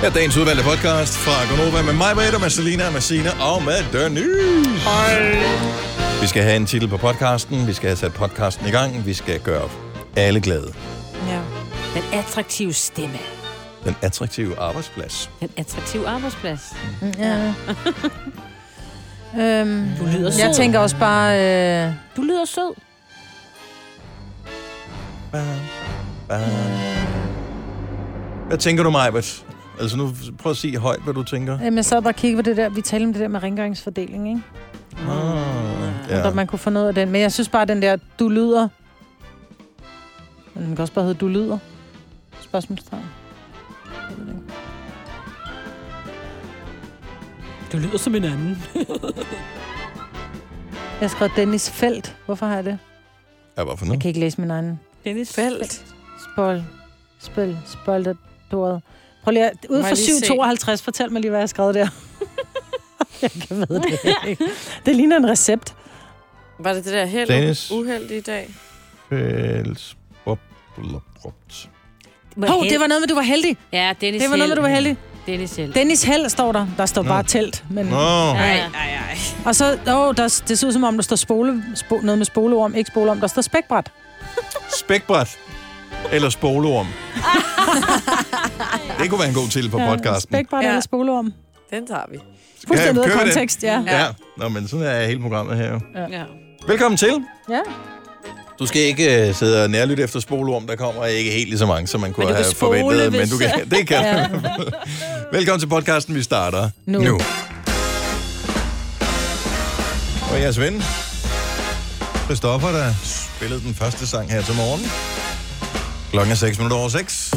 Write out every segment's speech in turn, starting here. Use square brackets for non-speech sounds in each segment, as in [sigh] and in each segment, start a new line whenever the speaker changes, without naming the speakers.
Her er dagens udvalgte podcast fra Gonova med mig, Britt, og med Selina, med Sina og med Denise. Vi skal have en titel på podcasten, vi skal have sat podcasten i gang, vi skal gøre alle glade.
Ja. Den attraktive stemme.
Den attraktive arbejdsplads.
Den attraktive arbejdsplads.
Ja. [laughs] øhm,
Mm, Du lyder sød.
jeg tænker også bare... Øh,
Du lyder sød.
Hvad tænker du, Majbert? Altså nu, prøv at sige højt, hvad du tænker.
jamen, jeg sad bare og kiggede på det der. Vi talte om det der med rengøringsfordeling, ikke?
Ah,
Ja.
ja.
man kunne få noget af den. Men jeg synes bare, den der, du lyder... Men den kan også bare hedde, du lyder. Spørgsmålstegn. Jeg ved det ikke.
Du lyder som en
[laughs]
anden.
Jeg har skrevet Dennis Felt. Hvorfor har jeg det?
ja, hvorfor
Jeg
nu?
kan ikke læse min egen
Dennis
Felt.
Spol. Spil. Spolderdoret. Prøv lige at... Ude
Må
for
jeg lige
752, fortæl mig lige, hvad jeg har skrevet [laughs] der. jeg kan ved det ikke. Det ligner en recept.
[laughs] Var det det der held
Dennis.
uheld i dag?
Fælles. Bop, blup, brupt.
Hov, det var noget med, du var heldig.
Ja, Dennis
Det var noget med,
Held.
du var heldig.
Dennis Held.
Dennis Held står der. Der står
Nå.
bare telt. Men...
Nå,
Ja.
nej, nej.
Og så, åh, der, det ser ud som om, der står spole, spo, noget med spoleorm, ikke spoleorm, der står spækbræt.
spækbræt. Eller spolorm. det kunne være en god titel på podcasten.
Spækbræt ja.
Ja.
eller spoleorm.
Den tager vi.
Fuldstændig ud
kører
af
vi den?
kontekst, ja.
Ja. ja. Nå, men sådan er hele programmet her jo.
Ja.
Velkommen til.
ja.
Du skal ikke øh, sidde og nærlytte efter spolorm, der kommer ikke helt lige så mange, som man kunne
du
have
kan spole,
forventet. Men
hvis-
du kan, det kan
Ja.
du. Velkommen til podcasten, vi starter nu.
Nu.
nu. Og jeres ven, Christoffer, der spillede den første sang her til morgen. Klokken er 6 minutter over 6.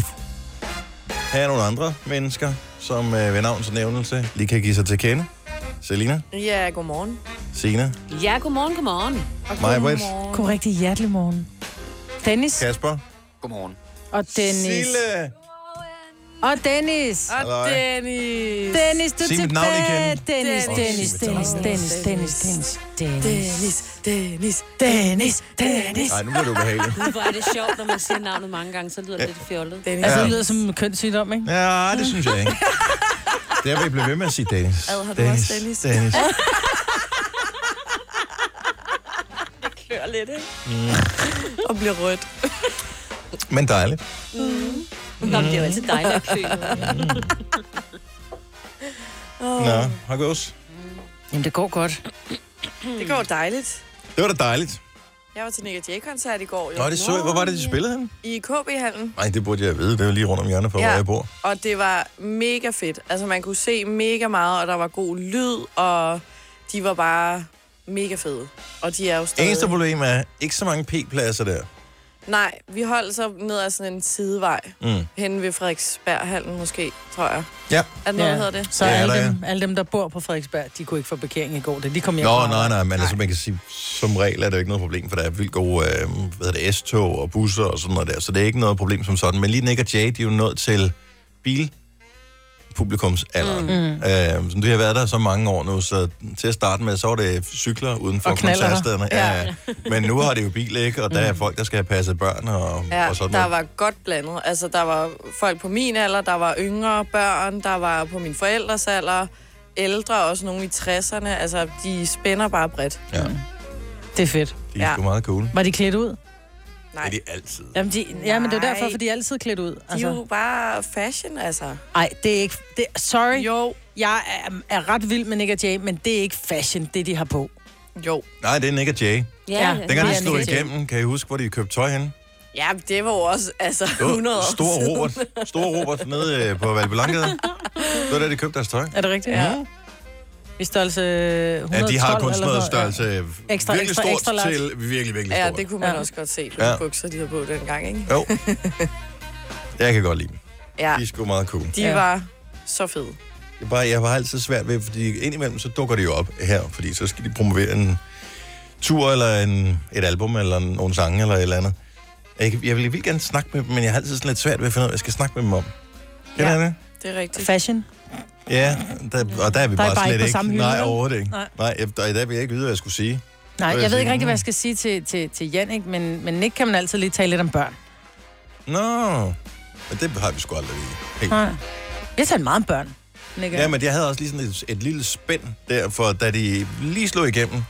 Her er nogle andre mennesker, som øh, ved navns nævnelse lige kan give sig til kende. Selina,
Ja, godmorgen.
Sina,
Ja, godmorgen, godmorgen.
Og
Maja Britt.
God rigtig hjertelig morgen. Dennis
Kasper,
Godmorgen.
og Dennis.
Sille.
Og Dennis.
Og Dennis.
Dennis, du er
Sig mit navn
tilbage.
igen.
Dennis,
Åh,
Dennis,
sig mit
Dennis,
navn.
Dennis, Dennis, Dennis, Dennis.
Dennis, Dennis, Dennis, Dennis.
Nej, nu bliver det
[laughs]
ubehageligt.
Hvor er det sjovt, når man siger navnet mange gange, så lyder det lidt fjollet.
Dennis.
Altså,
Ja.
det lyder som en kønssygdom, ikke?
Ja, det synes jeg ikke. Der vil jeg blive ved med at sige Dennis.
Ad, har du også Dennis?
Dennis.
klør lidt, ikke?
Mm.
Og bliver rødt.
Men dejligt.
Nå, men det er jo altid dejligt at klø.
Nå, har gås.
Jamen, det går godt.
Det går dejligt.
Det var da dejligt.
Jeg var til Nick J-koncert i går. Jo.
Nå, det så jeg. Hvor var det, de spillede henne?
I KB-hallen.
Nej, det burde jeg vide. Det var lige rundt om hjørnet for, ja.
Ja.
hvor jeg bor.
Og det var mega fedt. Altså, man kunne se mega meget, og der var god lyd, og de var bare mega fede. Og de er jo stadig...
Eneste problem er, ikke så mange p-pladser der.
Nej, vi holdt så ned ad sådan en sidevej.
Mm.
Hen ved Frederiksberghallen måske, tror jeg.
Ja.
Er det noget, ja. hedder det?
Så
Ja,
alle,
der er-
dem, alle dem, der bor på Frederiksberg, de kunne ikke få parkering i går, da de kom hjem.
Nå,
fra-
nej, nej, men altså, man kan sige, som regel er det jo ikke noget problem, for der er vildt gode øh, hvad hedder det, S-tog og busser og sådan noget der, så det er ikke noget problem som sådan. Men lige Nick og Jay, de er jo nået til bilpublikumsalderen. Mm. Øh, som du har været der så mange år nu, så til at starte med, så var det cykler uden for
Og knallerter.
koncertstederne.
Ja.
Ja. Men nu har det jo bil, ikke? Og der er folk, der skal have passet børn og,
Ja,
og sådan
der
noget.
var godt blandet. Altså, der var folk på min alder, der var yngre børn, der var på mine forældres alder, ældre, også nogle i 60'erne. Altså, de spænder bare bredt.
Ja,
Det er fedt.
de er sgu meget cool.
Var de klædt ud?
Nej,
Det er de
de
altid.
Jamen, de, ja, men det er jo
Nej.
derfor, for de er altid klædt ud.
er jo bare fashion, altså.
Nej, det er ikke... Det, sorry, jo.
Jo,
jeg er, er ret vild med Nick og Jay, men det er ikke fashion, det de har på.
jo.
Nej, det er Nick og Jay.
Ja,
Ja.
Dengang de
det er
slog
Nick og Jay.
igennem, kan I huske, hvor de købte tøj henne?
Ja, det var jo også, altså,
Det var
100 år
Stor
siden.
Robert. Stor Robert nede øh, på Valbelankede. Det var der, de købte deres tøj.
Er det rigtigt?
Mm-hmm.
Ja. I størrelse 112
Ja, de har kun sådan
eller
noget
sådan noget.
størrelse øh,
Ekstra,
virkelig
ekstra,
stort
ekstra large.
til virkelig, virkelig
Ja,
stort.
det kunne man
Ja.
også godt se på
Ja.
de bukser, de havde på dengang, ikke?
Jo. Jeg kan godt lide dem.
Ja,
De er sgu meget cool. Det
de
Ja.
var så fede.
er bare, jeg har altid svært ved, fordi indimellem så dukker de jo op her, fordi så skal de promovere en tur eller en, et album eller en- nogle sange eller et eller andet. Jeg, kan- jeg vil vildt gerne snakke med dem, men jeg har altid sådan lidt svært ved at finde ud af, hvad jeg skal snakke med dem om. Kender
Ja.
ja. det?
Det er rigtigt.
Fashion.
Ja, der, og der er vi
Der er
bare,
bare
slet
ikke på
ikke.
samme hylde,
Nej,
vel?
overhovedet ikke. Nej,
Nej.
Nej jeg, der, i dag vil jeg ikke vide, hvad jeg skulle sige.
Nej,
vil
jeg
jeg
ved
sige.
ikke rigtig, hvad jeg skal sige til, til, til Jan, ikke? Men, men Nick kan man altid lige tale lidt om børn.
Nå, men det har vi sgu aldrig lige. Helt.
Nej. Jeg talte meget om børn. Nikke.
Ja, men jeg havde også lige sådan et, et lille spænd der, for da de lige slog igennem,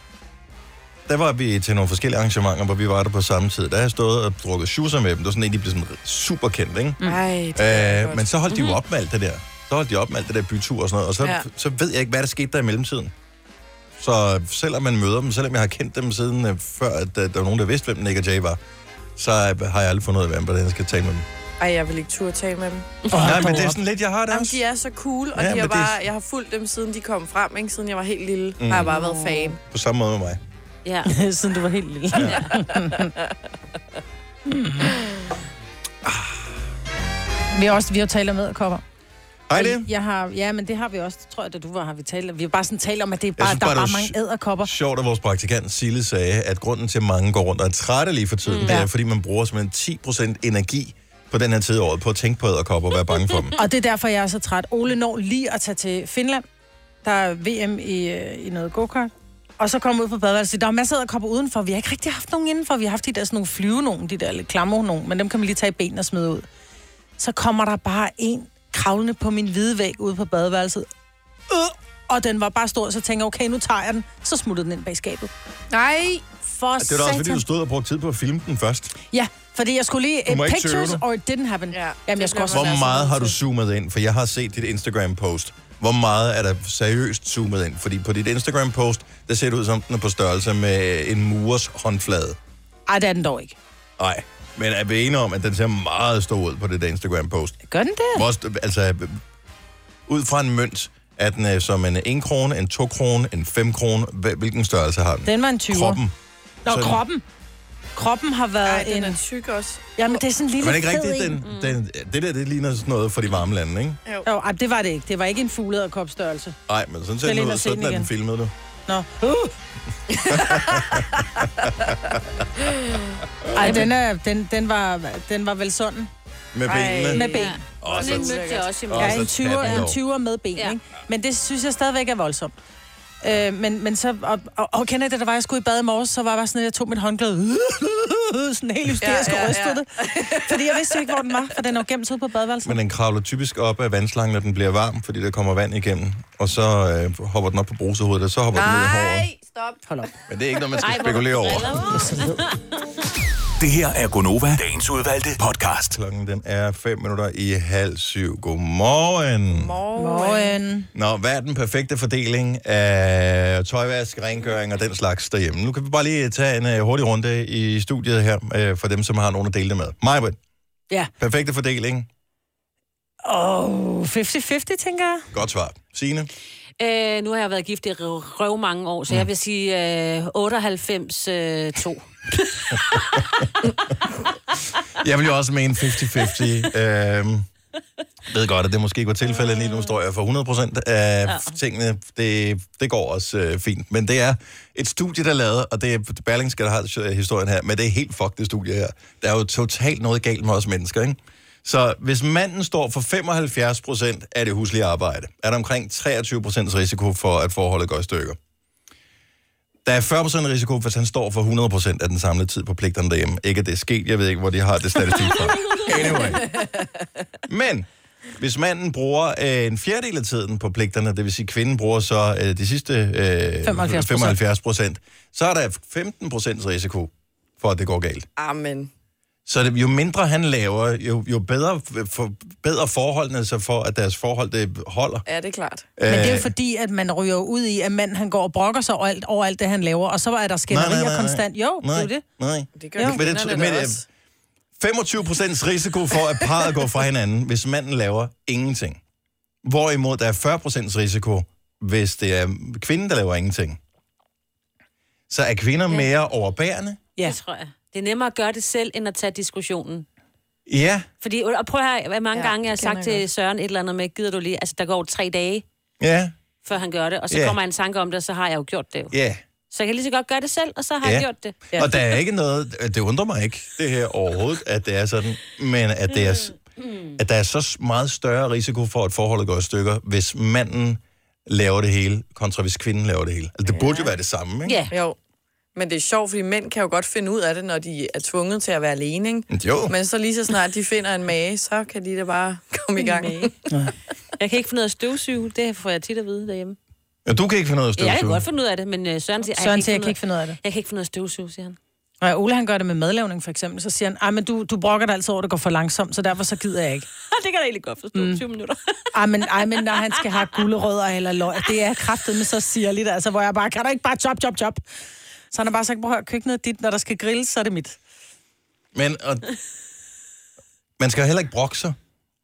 der var vi til nogle forskellige arrangementer, hvor vi var der på samme tid. Der har jeg stået og drukket shoes med dem. Det var sådan en, de blev sådan super kendt, ikke?
Nej, det er
Øh,
godt.
men så holdt de jo op med alt det der. Så holdt de op med alt det der bytur og sådan noget. Og så,
Ja.
ja. så ved jeg ikke, hvad der skete der i mellemtiden. Så selvom man møder dem, selvom jeg har kendt dem siden øh, før, at der, der var nogen, der vidste, hvem Nick og Jay var, så øh, har jeg aldrig fundet ud af, hvem hvordan jeg skal tale med dem.
Ej, jeg vil ikke turde tale med dem.
Oh, Nej, men
hold
det er
op.
sådan lidt, jeg har det
Jamen,
også.
de er så cool, og
Ja,
ja, de
men
er
det-
bare, jeg har fulgt dem, siden de kom frem, ikke? siden jeg var helt lille. Mm. Har jeg bare været fan.
På samme måde med mig.
Ja.
[laughs] Siden du var helt lille. Hmm. Vi har, også, vi har jo talt om æderkopper.
Hej det.
Jeg har, ja, men det har vi også, det tror jeg, da du var, har vi talt om. Vi har bare sådan talt om, at det er bare,
synes
der
bare,
er bare
det var
mange
s-
æderkopper.
Sjovt, at vores praktikant Sille sagde, at grunden til, at mange går rundt og er trætte lige for tiden, mm. det er,
Ja.
fordi man bruger simpelthen 10% energi på den her tid af året på at tænke på æderkopper og være bange
[laughs]
for dem.
Og det er derfor, jeg er så træt. Ole når lige at tage til Finland. Der er VM i, øh, i noget go-kart. Og så kommer ud på badeværelset. og siger, Der er masser af kopper udenfor. Vi har ikke rigtig haft nogen indenfor. Vi har haft de der sådan nogle flyve nogen, de der lidt klamme nogen. Men dem kan man lige tage i benene og smide ud. Så kommer der bare en kravlende på min hvide væg ude på badeværelset. Øh! Og den var bare stor, så tænker jeg, okay, nu tager jeg den. Så smuttede den ind bag skabet.
Nej!
For
Det var da også, fordi
satan.
du stod og brugte tid på at filme den først.
Ja, fordi jeg skulle lige...
Du må
eh,
ikke
pictures
tøve
or it didn't happen.
Ja,
Ja, Jamen,
det
jeg skulle også...
bliver man
Hvor meget
sådan
har du
til.
zoomet ind? For jeg har set dit Instagram-post. Hvor meget er der seriøst zoomet ind? Fordi på dit Instagram-post, der ser det ud som, den er på størrelse med øh, en murers håndflade.
Ej, det er den dog ikke.
Nej, men er vi enige om, at den ser meget stor ud på det der Instagram-post?
Gør den det?
Hvor, st- altså, ud fra en mønt, er den øh, som en 1 krone, en 2 krone, en 5 krone? Hva- Hvilken størrelse har den?
Den var en 20'er.
Kroppen.
Nå,
Sådan.
kroppen. Kroppen har
Ej,
været Ej,
den
en...
er tyk også.
Jamen, det er sådan en lille
Men ikke
fed
rigtigt,
en.
den, den, det der, det ligner sådan noget for de varme lande, ikke?
Jo, ej, det var det ikke. Det var ikke en fuglederkopstørrelse.
Nej, men sådan ser
Skal
den
ind
ud,
og se den
sådan er den
igen.
filmet, du.
Nå. Uh! [laughs] Ej, den, er, den, den, var, den var vel sådan.
Med
Ej.
benene.
Med ben.
Ja.
Åh,
Sådan en
så-
mødte jeg også i
Åh,
morgen.
Ja,
så
en
tag den
20'er, en
dog.
20'er med ben,
Ja.
ja. ikke? Men det synes jeg stadigvæk er voldsomt. Øh, men, men så, og, og, og kender I det, der var, jeg skulle i bad i morges, så var jeg bare sådan, at jeg tog mit håndklæde, [laughs] sådan helt hysterisk ja,
Ja, ja, ja.
ja, ja. rystede det. Fordi jeg vidste jo ikke, hvor den var, for den er jo gemt ude på badeværelset.
Men den kravler typisk op af vandslangen, når den bliver varm, fordi der kommer vand igennem. Og så øh, hopper den op på brusehovedet, og så hopper den ned i håret.
Nej, stop.
Hold op.
Men det er ikke noget, man skal
Ej, hvor
spekulere over.
driller.
Det her er Gonova, dagens udvalgte podcast.
Klokken den er 5 minutter i halv syv. Godmorgen.
Morgen.
Morgen.
Nå, hvad er den perfekte fordeling af tøjvask, rengøring og den slags derhjemme? Nu kan vi bare lige tage en uh, hurtig runde i studiet her, uh, for dem, som har nogen at dele det med. Majbrit,
Ja.
perfekte fordeling.
Åh, oh, 50-50, tænker jeg.
Godt svar. Signe?
Øh, nu har jeg været gift i røv, røv mange år, så jeg vil sige øh, 98 øh, 2.
Jeg vil jo også mene 50-50. øhm, ved godt, at det måske ikke var tilfældet lige nu, står jeg for 100% af ja. tingene. Det, det går også øh, fint. Men det er et studie, der er lavet, og det er Berlingske, der har øh, historien her, men det er helt fucked, det studie her. Der er jo totalt noget galt med os mennesker, ikke? Så hvis manden står for 75 procent af det huslige arbejde, er der omkring 23 procents risiko for, at forholdet går i stykker. Der er 40 risiko, hvis han står for 100 af den samlede tid på pligterne derhjemme. Ikke at det er sket, jeg ved ikke, hvor de har det statistik fra. Anyway. Men hvis manden bruger øh, en fjerdedel af tiden på pligterne, det vil sige, kvinden bruger så øh, de sidste øh,
75%.
75 procent, så er der 15 risiko for, at det går galt.
Amen.
Så det, jo mindre han laver, jo, jo bedre, for, bedre forholdene sig for, at deres forhold det holder.
Ja, det er klart.
Men det er
Øh.
jo fordi, at man ryger ud i, at manden han går og brokker sig over alt, over alt det, han laver, og så er der skænderier konstant. Jo, det er jo det.
Nej.
Det gør jo,
Men det-
kvinderne
men,
da
øh,
også.
25 risiko for, at parret går fra hinanden, hvis manden laver ingenting. Hvorimod der er 40 risiko, hvis det er kvinden, der laver ingenting. Så er kvinder mere overbærende?
Ja.
Det tror jeg. Det er nemmere at gøre det selv, end at tage diskussionen.
Ja.
Fordi, og prøv at høre, hvor mange ja,
Ja,
gange jeg har
det kender
sagt
jeg
til Søren et eller andet med, gider du lige, altså der går tre dage,
Ja.
før han gør det, og så
Ja.
yeah. kommer han i tanke om det, og så har jeg jo gjort det. Yeah.
Ja.
Så jeg kan lige så godt gøre det selv, og så har yeah. jeg
Ja.
gjort det.
Ja. Og der er ikke noget, det undrer mig ikke, det her overhovedet, at det er sådan, men at, det er, s-
Mm.
at der er så s- meget større risiko for, at forholdet går i stykker, hvis manden laver det hele, kontra hvis kvinden laver det hele. Altså, det burde jo være det samme, ikke?
Ja,
Jo. Men det er sjovt, fordi mænd kan jo godt finde ud af det, når de er tvunget til at være alene, ikke?
Jo.
Men så lige så snart de finder en mage, så kan de da bare komme i gang.
Jeg kan ikke finde ud af at støvsuge. Det får jeg tit at vide derhjemme.
Ja, du kan ikke finde noget at
Ja,
støvsuge.
jeg kan godt finde ud af det, men øh, Søren siger... "Ej,
Søren siger, jeg kan ikke finde ud af det.
Jeg kan ikke finde noget at støvsuge, siger han. [laughs]
Og ja, Ole han gør det med madlavning for eksempel, så siger han, "Ej, men du, du brokker dig altid over, at det går for langsomt, så derfor så gider jeg ikke.
det kan jeg egentlig godt forstå. Mm. 20 minutter.
Ej, men, ej, men når han skal have gulerødder eller løg, det er kraftet med så sirligt, altså, hvor jeg bare, kan du ikke bare chop, chop, chop? Så han har bare sagt, prøv at høre, køkkenet er dit, når der skal grilles, så er det mit.
Men og, man skal heller ikke brokke sig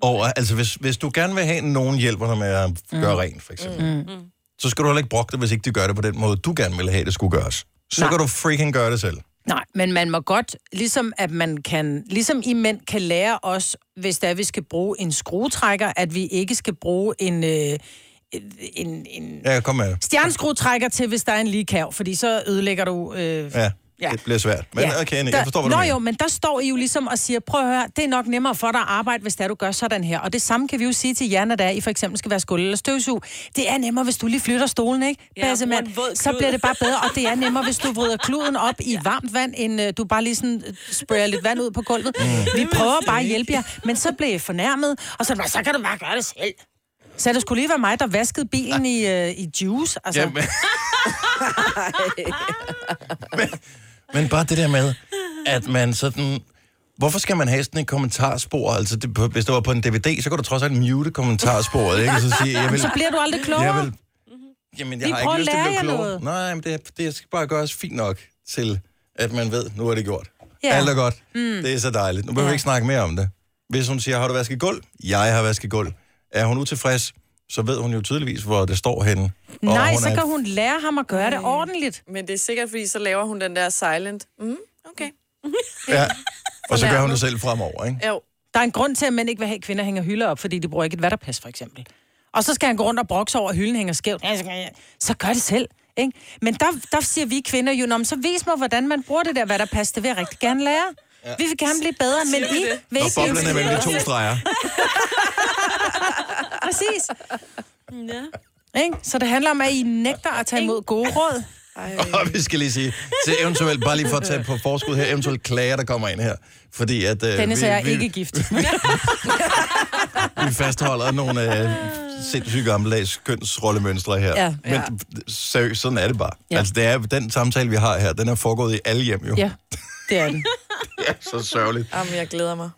over, altså hvis, hvis du gerne vil have, at nogen hjælper dig med at
Mm.
gøre rent, for eksempel, mm. så skal du heller ikke brokke dig, hvis ikke de gør det på den måde, du gerne vil have, det skulle gøres. Så Nej.
Nej.
kan du freaking gøre det selv.
Nej, men man må godt, ligesom at man kan, ligesom I mænd kan lære os, hvis der vi skal bruge en skruetrækker, at vi ikke skal bruge en, øh, en, en
Ja, kom med.
stjerneskruetrækker til, hvis der er en ligekav, fordi så ødelægger du... Øh,
Ja, ja.
Ja.
det bliver svært. Men ja. okay, Anne, jeg forstår, hvad
der,
du
Nå
mener.
jo, men der står I jo ligesom og siger, prøv at høre, det er nok nemmere for dig at arbejde, hvis det er, du gør sådan her. Og det samme kan vi jo sige til jer, når der I for eksempel skal være skuld eller støvsug. Det er nemmere, hvis du lige flytter stolen, ikke?
Ja,
Bassemand?
bruger en våd
så
klud.
bliver det bare bedre, og det er nemmere, hvis du vrider kluden op i varmt vand, end øh, du bare lige sådan øh, sprayer lidt vand ud på gulvet.
Mm.
Vi prøver bare at hjælpe jer, men så bliver I fornærmet, og så, er det bare, så kan du bare gøre det selv. Så det skulle lige være mig, der vaskede bilen i, øh, i juice. Altså,
Ja, men... men, men bare det der med, at man sådan... Hvorfor skal man have sådan et kommentarspor? Altså, det, på- hvis det var på en DVD, så kunne du trods alt mute kommentarsporet, ikke? Og så sige, jeg vil...
så bliver du aldrig klogere.
Jeg vil... Jamen, jeg
Mhm. Vi
har
prøver
ikke
at
lyst til at
lære
blive
jer
klogere.
noget.
Nej, men det, det skal bare gøres fint nok til, at man ved, nu er det gjort.
Ja.
Alt er godt. Mm. Det er så dejligt. Nu behøver vi
Ja.
ikke snakke mere om det. Hvis hun siger, har du vasket gulv? Jeg har vasket gulv. Er hun utilfreds, så ved hun jo tydeligvis, hvor det står henne. Og
Nej,
hun
så
er-
kan hun lære ham at gøre det ordentligt.
[laughs] Men det er sikkert, fordi så laver hun den der silent. Mm, okay.
[laughs]
Ja. Og så gør hun
Fornærmet.
det selv fremover, ikke?
Jo.
Der er en grund til, at mænd ikke vil have, at kvinder hænger hylder op, fordi de bruger ikke et vatterpas, for eksempel. Og så skal han gå rundt og brokse over, at hylden hænger skævt. Ja, så kan jeg- Så gør det selv. Ikke? Men der, der siger vi kvinder jo, "Nå, men så vis mig, hvordan man bruger det der vatterpas. Det vil jeg rigtig gerne lære. Ja. Vi vil gerne blive bedre, men I vil
Og
ikke blive
boblen er mellem de to
[laughs]
streger.
Præcis.
[laughs] Ja.
Ikke? Så det handler om, at I nægter at tage imod gode råd.
Og vi skal lige sige, til eventuelt, bare lige for at tage på forskud her, eventuelt klager, der kommer ind her. Fordi at... Øh,
Dennis
vi-
og jeg er
vi-
ikke gift.
vi fastholder nogle øh, sindssygt gammeldags kønsrollemønstre her.
Ja.
Men
Ja.
d- seriøst, sådan er det bare. Ja.
Ja.
Altså, det er, den samtale, vi har her, den er foregået i alle hjem jo.
Ja, det er den.
Så sørgeligt.
Jamen, jeg glæder mig.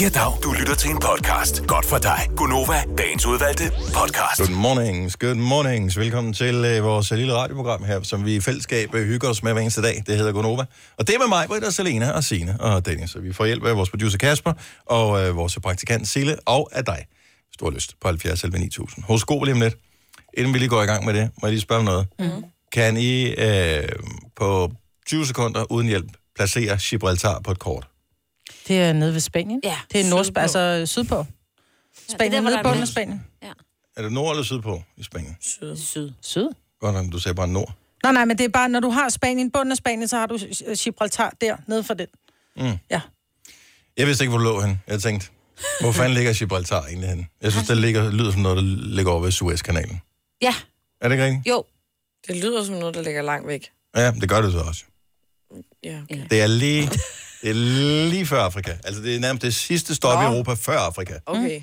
Ja, dag. Du lytter til en podcast. Godt for dig. Gunova. Dagens udvalgte podcast.
Good mornings, good mornings. Velkommen til øh, vores lille radioprogram her, som vi i fællesskab øh, hygger os med hver eneste dag. Det hedder Gonova. Og det er med mig, Britt og Selena og Sine og Dennis. Og vi får hjælp af vores producer Kasper og øh, vores praktikant Sille og af dig. Hvis du har lyst på 70 11 9000. Hos Go lige om lidt. Inden vi lige går i gang med det, må jeg lige spørge om noget. Mm. Kan I øh, på 20 sekunder uden hjælp placere Gibraltar på et kort?
Det er nede ved Spanien.
Ja,
det er Nordsp-
sydpå.
altså sydpå. Spanien,
der,
ja,
hvor der
nede
er
i bunden af
mest.
Spanien.
Er det nord eller sydpå i Spanien?
Syd.
Syd.
Godt nok, du sagde bare nord.
Nej, nej, men det er bare, når du har Spanien, bunden af Spanien, så har du øh, Gibraltar der, nede for den. Mm. Ja.
Jeg vidste ikke, hvor det lå han. Jeg tænkte, hvor fanden ligger Gibraltar egentlig henne? Jeg synes, det ligger, lyder som noget, der ligger over ved Suezkanalen.
Ja,
Er det ikke rigtigt?
jo.
Det lyder som noget, der ligger langt væk.
Ja, det gør det så også.
Ja, okay.
Det er lige, det er lige før Afrika. Altså, det er nærmest det sidste stop i
Nå.
Europa før Afrika.
Mm.
okay.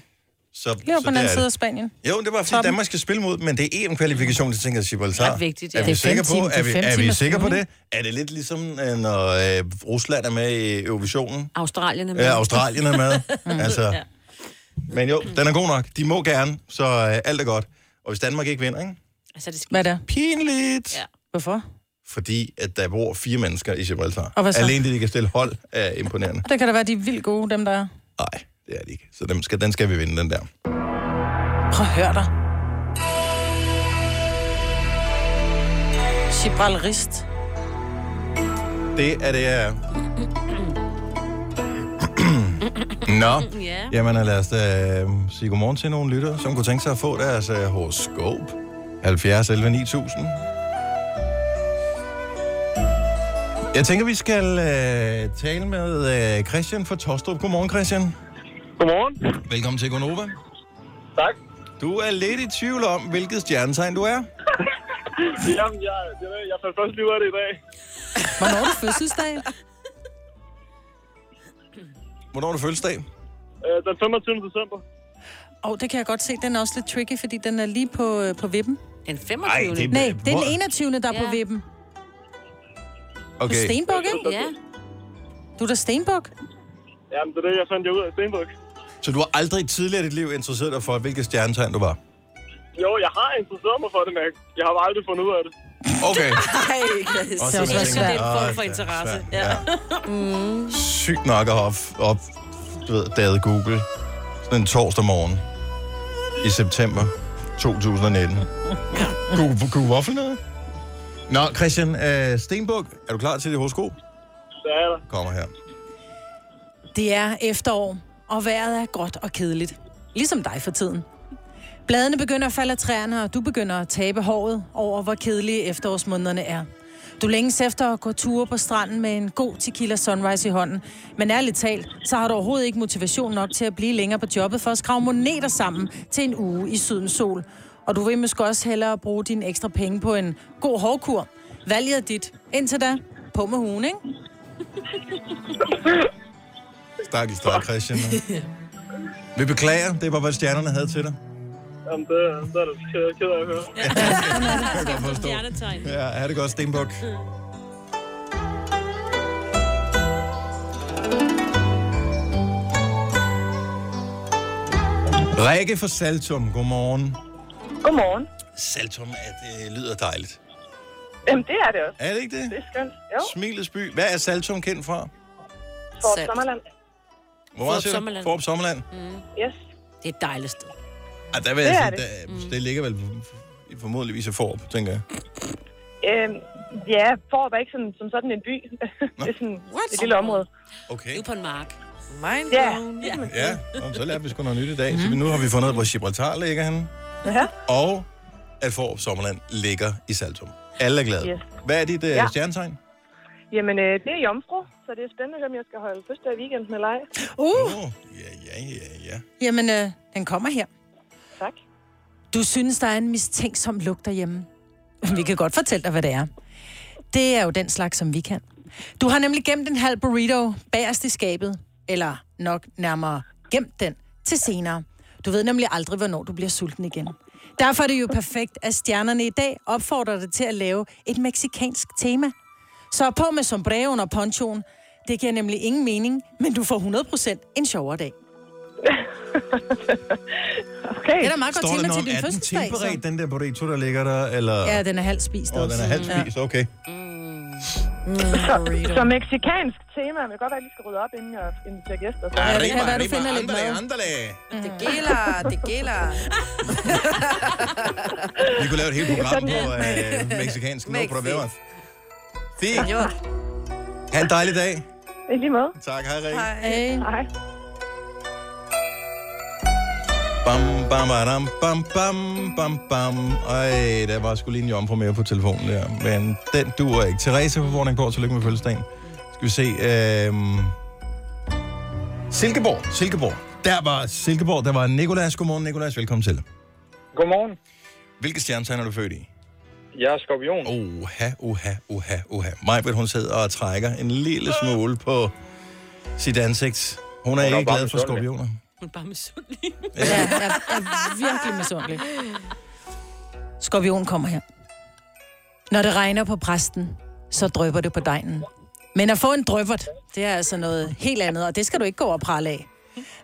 Så,
Lige
så
over på den
det
anden
er
side af
det.
Spanien.
Jo, det var fordi
Toppen.
Danmark skal spille mod, men det er EM-kvalifikation, det tænker jeg, Gibraltar.
Ret vigtigt, ja.
Er vi
Det er
fem
sikre
timer-
på, er
det
vi,
er fem
er vi
timers
sikre på det?
flyvning.
Er det lidt ligesom, øh, når øh, Rusland er med i Eurovisionen?
Australien er med.
Ja, Australien er med. altså, men jo, den er god nok. De må gerne, så øh, alt er godt. Og hvis Danmark ikke vinder, ikke?
Altså, det skal...
Hvad der?
pinligt. Ja.
Ja.
Hvorfor?
Fordi at der bor fire mennesker i Gibraltar.
Og hvad så?
Alene det, de kan stille hold, er imponerende.
Og der kan da være, de er vildt gode, dem der er.
Nej, det er det ikke. Så den skal, den skal vi vinde, den der.
Prøv at høre dig. Gibraltarist.
Det er det, jeg er. Nå,
Ja.
jamen lad os øh, sige godmorgen til nogle lyttere, som kunne tænke sig at få deres øh, horoskop. 70 11 9000. Jeg tænker, vi skal øh, tale med øh, Christian fra Tostrup. Godmorgen, Christian.
Godmorgen.
Velkommen til Gonova.
Tak.
Du er lidt i tvivl om, hvilket stjernetegn du er.
Jamen, jeg, jeg, ved- jeg fandt først lige ud af det i dag.
Hvornår er det fødselsdag?
Hvornår er du fødselsdag?
Øh, den 25. december.
Og det kan jeg godt se, den er også lidt tricky, fordi den er lige på, øh, på vippen.
Den 25.
Ej, det er-
Nej, det er
Hvor-
den 21. der er på
Ja.
vippen. Du er
Okay.
Stenbuk, ikke?
Ja,
Du er da Stenbuk.
Jamen, det er det, jeg fandt jeg ud af Stenbuk.
Så du har aldrig tidligere i dit liv interesseret dig for, hvilket stjernetegn du var?
Jo, jeg har interesseret mig for det, men jeg- jeg har bare aldrig fundet ud af det.
Okay.
Ej, Chris.
Og
Det er også lidt
tænker jeg,
[laughs] Det
svært.
er en form for
"Åh,
interesse."
svært, Sygt nok at have op, op du ved, daget Google sådan en torsdag morgen i september 2019. Kunne, kunne du waffle noget? Nå, Christian øh, Stenbuk, er du klar til det horoskop?
Det er der.
Kommer her.
Det er efterår, og vejret er gråt og kedeligt. Ligesom dig for tiden. Bladene begynder at falde af træerne, og du begynder at tabe håret over, hvor kedelige efterårsmånederne er. Du længes efter at gå ture på stranden med en god tequila sunrise i hånden. Men ærligt talt, så har du overhovedet ikke motivation nok til at blive længere på jobbet for at skrave moneter sammen til en uge i sydens sol. Og du vil måske også hellere bruge dine ekstra penge på en god hårkur. Valget er dit. Indtil da, på med hugen, ikke?
Stakkels dig, Christian. Vi beklager, det var, hvad stjernerne havde til dig.
Jamen, det, det er det ked- ked af at høre.
Jeg kan godt forstå.
stjernetegn.
Ja, er det godt, Stenbuk. Rikke fra Saltum, godmorgen.
Godmorgen.
Saltum, at det lyder dejligt.
Jamen, det er det også.
Er det ikke det?
Det er skønt. Jo,
Smilets by. Hvad er Saltum kendt fra?
for
Salt.
Sommerland.
Hvor meget
Fårup
siger du?
Sommerland.
Fårup Sommerland.
Mm. Yes.
Det er et dejligt sted.
Ah, der vil
Det
jeg
er
sige, der, det ligger vel i- formodentligvis i Forop, tænker jeg.
Øhm, ja, Forop er ikke sådan, som sådan en by. [laughs] det er sådan
What?
et lille område.
Okay.
Du er på en mark.
Mind
Ja.
blown.
Ja, Nå, så lærte vi sgu noget nyt i dag. Mm. Så
Mhm.
vi- nu har vi fundet ud af, hvor Gibraltar ligger henne.
Ja.
Og at Forop Sommerland ligger i Saltum. Alle er glade.
Yes.
Hvad er dit uh, ja.
Ja.
stjernetegn?
Jamen, øh, det er jomfru, så det er spændende, om jeg skal holde første af weekend med leg.
Uh!
Åh, ja, ja, ja, ja.
Jamen, øh, den kommer her.
Tak.
Du synes, der er en mistænksom lugt derhjemme. Vi kan godt fortælle dig, hvad det er. Det er jo den slags, som vi kan. Du har nemlig gemt en halv burrito bagerst i skabet, eller nok nærmere gemt den til senere. Du ved nemlig aldrig, hvornår du bliver sulten igen. Derfor er det jo perfekt, at stjernerne i dag opfordrer dig til at lave et meksikansk tema. Så på med sombreroen og ponchoen. Det giver nemlig ingen mening, men du får 100% en sjovere dag.
Okay.
Det er da meget godt
Står
tema
der
til
noget,
din
er den
fødselsdag.
tilberedt,
så.
den der burrito, der ligger der? Eller...
Ja, den er halvt spist
Åh, den er halvt spist, okay.
Så meksikansk tema. Jeg vil godt være, at jeg lige skal rydde op, inden jeg inviterer gæster. Så.
det kan være, du finder lidt mad.
mad.
Det gælder, det gælder.
Vi kunne lave
[laughs]
et helt program på øh, mexicansk. Nå,
Mexi.
på det Fint.
Jo,
Ha' en dejlig dag.
I lige måde.
Tak, hej Rikke.
hej.
Hey.
Hej.
Bam, bam, badam, bam, bam, bam, bam. Ej, der var sgu lige en jomfru mere på telefonen der. Men den duer ikke. Therese på Vordingborg, tillykke med fødselsdagen. Skal vi se. Øhm... Silkeborg, Silkeborg. Der var Silkeborg, der var Nikolas. Godmorgen, Nikolas. Velkommen til.
Godmorgen.
Hvilke stjernetegn er du født i?
Jeg er skorpion.
Oha, oha, oha, oha. Majbrit, hun sidder og trækker en lille smule på sit ansigt. Hun er
Hun er
ikke
bare
glad for
misundelig.
skorpioner.
Hun er bare misundelig.
Ja, jeg er, jeg er virkelig misundelig. Skorpion kommer her. Når det regner på præsten, så drøber det på dejen. Men at få en drøbert, det er altså noget helt andet, og det skal du ikke gå og prale af.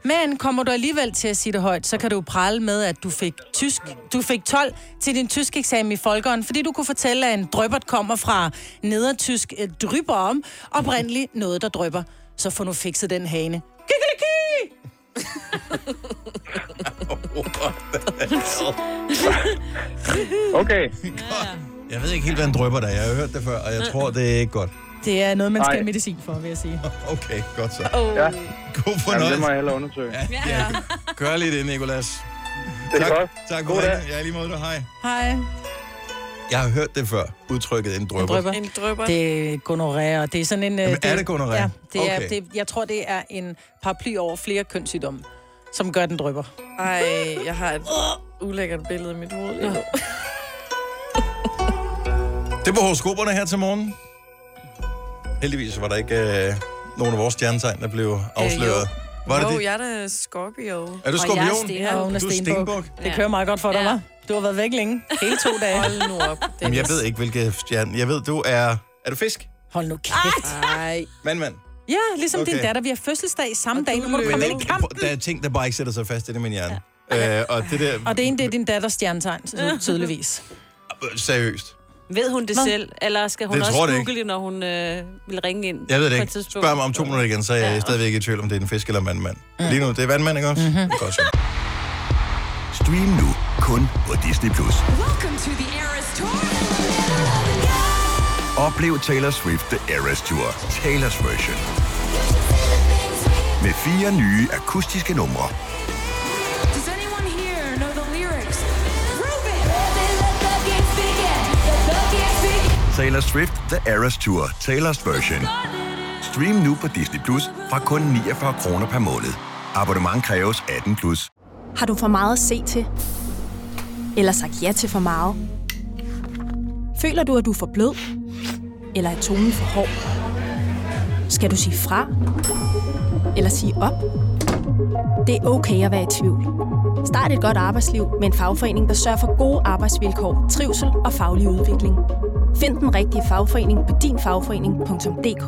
Men kommer du alligevel til at sige det højt, så kan du prale med, at du fik, tysk, du fik 12 til din tysk eksamen i Folkeren, fordi du kunne fortælle, at en drøbert kommer fra nedertysk eh, dryber om, oprindeligt noget, der drøber. Så får nu fikset den hane. Kikilikik!
[laughs] Okay.
Jeg ved ikke helt, hvad en drøber der er. Jeg har hørt det før, og jeg tror, det er ikke godt.
Det er noget, man skal
Nej.
have medicin for, vil jeg sige.
Okay, godt så.
Ja,
God
jamen,
fornøjelse.
det må jeg hellere undersøge. Ja.
Ja, ja. Gør lige det, Nicolas.
Det er
tak,
godt.
tak for
God dag.
det. Ja, i lige måde dig. Hej.
Hej.
Jeg har hørt det før, udtrykket en drøber.
Drøber.
En drøber.
Det er gonorré, og det er sådan en... øh,
Jamen, er det gonorré?
Ja, det er,
Okay.
det, jeg tror, det er en paraply over flere kønssygdomme, som gør, den drøber.
Ej, jeg har et ulækkert billede i mit hoved. lige nu.
Det var horoskoperne her til morgen. Heldigvis var der ikke øh, nogen af vores stjernetegn, der blev afsløret. Var det
jo,
det?
jeg er da Scorpio.
Er du
Og
skorpion?
jeg er stenbog.
Ja, hun er
Du er
stenbuk.
stenbuk.
Det
Ja.
kører meget godt for dig,
Ja.
ja. hva'? Du har været væk længe. Hele to dage.
Hold nu op,
Jamen, jeg ved ikke, hvilke stjerne... Jeg ved, du er... Er du fisk?
Hold nu kæft.
Nej.
Mand, mand.
Ja, ligesom okay.
Okay.
din datter. Vi har fødselsdag samme dag. Nu må du
Men
komme ind i kamp.
der er ting, der bare ikke sætter sig fast i det, min hjerne. Øh, og det der...
Og det ene, det er din datters stjernetegn, så tydeligvis.
Øh, Seriøst.
[laughs] Ved hun det
Nå.
selv, eller skal hun
Det
også
tror jeg det ikke.
google det, når hun øh, vil ringe ind
Jeg ved
på
det
et
ikke.
tidspunkt?
Spørg mig om to minutter igen, så er jeg
Ja. Mm.
stadigvæk i tvivl, om det er en fisk eller en vandmand. Lige nu, det er vandmand, ikke også?
Mhm.
Mm-hmm. Godt så.
Stream nu kun på Disney+. Plus. Oplev Taylor Swift The Eras Tour, Taylor's version. Med fire nye akustiske numre. Taylor Swift The Eras Tour, Taylor's version. Stream nu på Disney Plus fra kun 49 kroner per måned. Abonnement kræves 18 plus.
Har du for meget at se til? Eller sagt ja til for meget? Føler du, at du er for blød? Eller er tonen for hård? Skal du sige fra? Eller sige op? Det er okay at være i tvivl. Start et godt arbejdsliv med en fagforening, der sørger for gode arbejdsvilkår, trivsel og faglig udvikling. Find den rigtige fagforening på dinfagforening.dk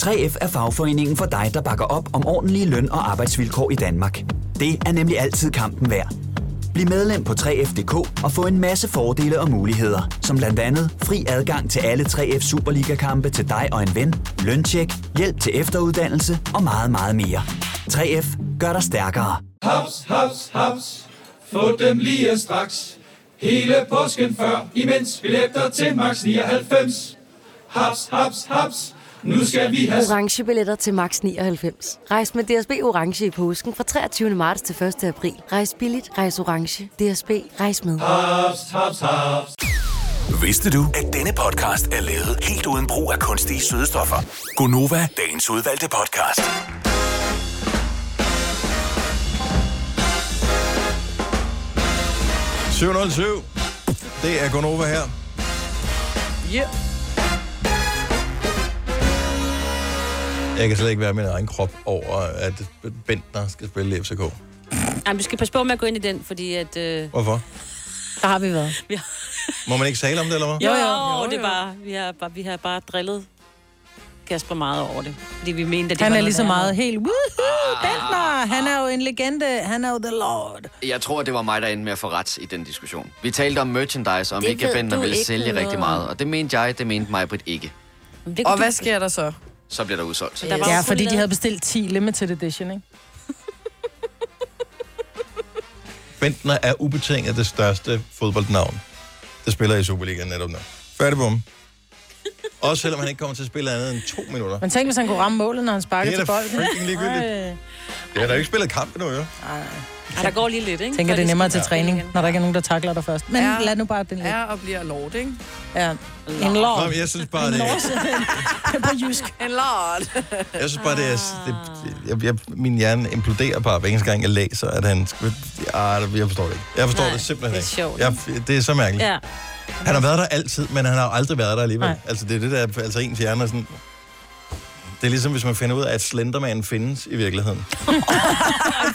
3F er fagforeningen for dig, der bakker op om ordentlige løn- og arbejdsvilkår i Danmark. Det er nemlig altid kampen værd. Bliv medlem på 3F.dk og få en masse fordele og muligheder, som blandt andet fri adgang til alle 3F Superliga-kampe til dig og en ven, løntjek, hjælp til efteruddannelse og meget, meget mere. 3F gør dig stærkere.
Haps, haps, haps. Få dem lige straks. Hele påsken før, imens billetter til max 99. Haps, haps, haps. Nu skal vi have...
orange billetter til max 99. Rejs med DSB orange i påsken fra 23. marts til 1. april. Rejs billigt, rejs orange. DSB rejs med.
Haps, haps, haps.
Vidste du, at denne podcast er lavet helt uden brug af kunstige sødestoffer? Gonova, dagens udvalgte podcast.
Morgen. 7.07. Det er Gunova her.
Yeah.
Jeg kan slet ikke være min egen krop over, at Bentner skal spille i FCK.
Ej, vi skal passe på med at gå ind i den, fordi at... Øh,
Hvorfor?
Der har vi været.
vi har...
Må man ikke tale om det, eller hvad?
[laughs] Jo, jo, jo, det er bare, vi, har bare, vi har bare drillet Kasper meget over det. Fordi vi mente, at det
Han
var
er
noget
lige så
værre
meget
noget.
helt... Woohoo, Bentner! Han er jo en legende. Han er jo the lord.
Jeg tror, det var mig, der endte med at få ret i den diskussion. Vi talte om merchandise, om
Det
ikke
ved
Bender
du
ville
ikke
sælge
noget
rigtig
om.
meget. Og det mente jeg, det mente Majbrit ikke.
Det
Og hvad sker der så?
Så bliver der udsolgt.
Der var
ja,
jo kun
fordi de
lavet-
havde bestilt 10 limited edition, ikke?
Bentner er ubetinget det største fodboldnavn, der spiller i Superligaen netop nu.
[laughs]
Færdig bum. Også selvom han ikke kommer til at spille andet end to minutter.
Men tænk, hvis han kunne ramme målet, når han sparkede
Det er
til
da
bolden. Øh.
freaking ligegyldigt.
Ej.
Ja, der er jo ikke spillet kamp endnu, jo.
Ej, der går lige lidt, ikke?
Tænker,
Før
det er
de
nemmere til
skal-
træning, når der ikke er nogen, der takler dig først. Men
Er-
lad nu bare den ligge.
Er og bliver lort, ikke?
Ja. En
Nå,
lord.
men jeg synes bare, det,
En lord. Det er [laughs] på jysk.
En lort.
jeg synes bare, det er... Det,
Ah.
jeg, jeg, min hjerne imploderer bare, hver eneste gang jeg læser, at han... skal- Ah, det- jeg forstår det ikke. Jeg forstår
Nej,
det simpelthen
det er
ikke.
sjovt.
Jeg, det er så mærkeligt.
Ja.
Han har været der altid, men han har jo aldrig været der alligevel.
Nej.
Altså, det er det der... Altså, ens hjerne er sådan... Det er ligesom, hvis man finder ud af, at Slenderman findes i virkeligheden.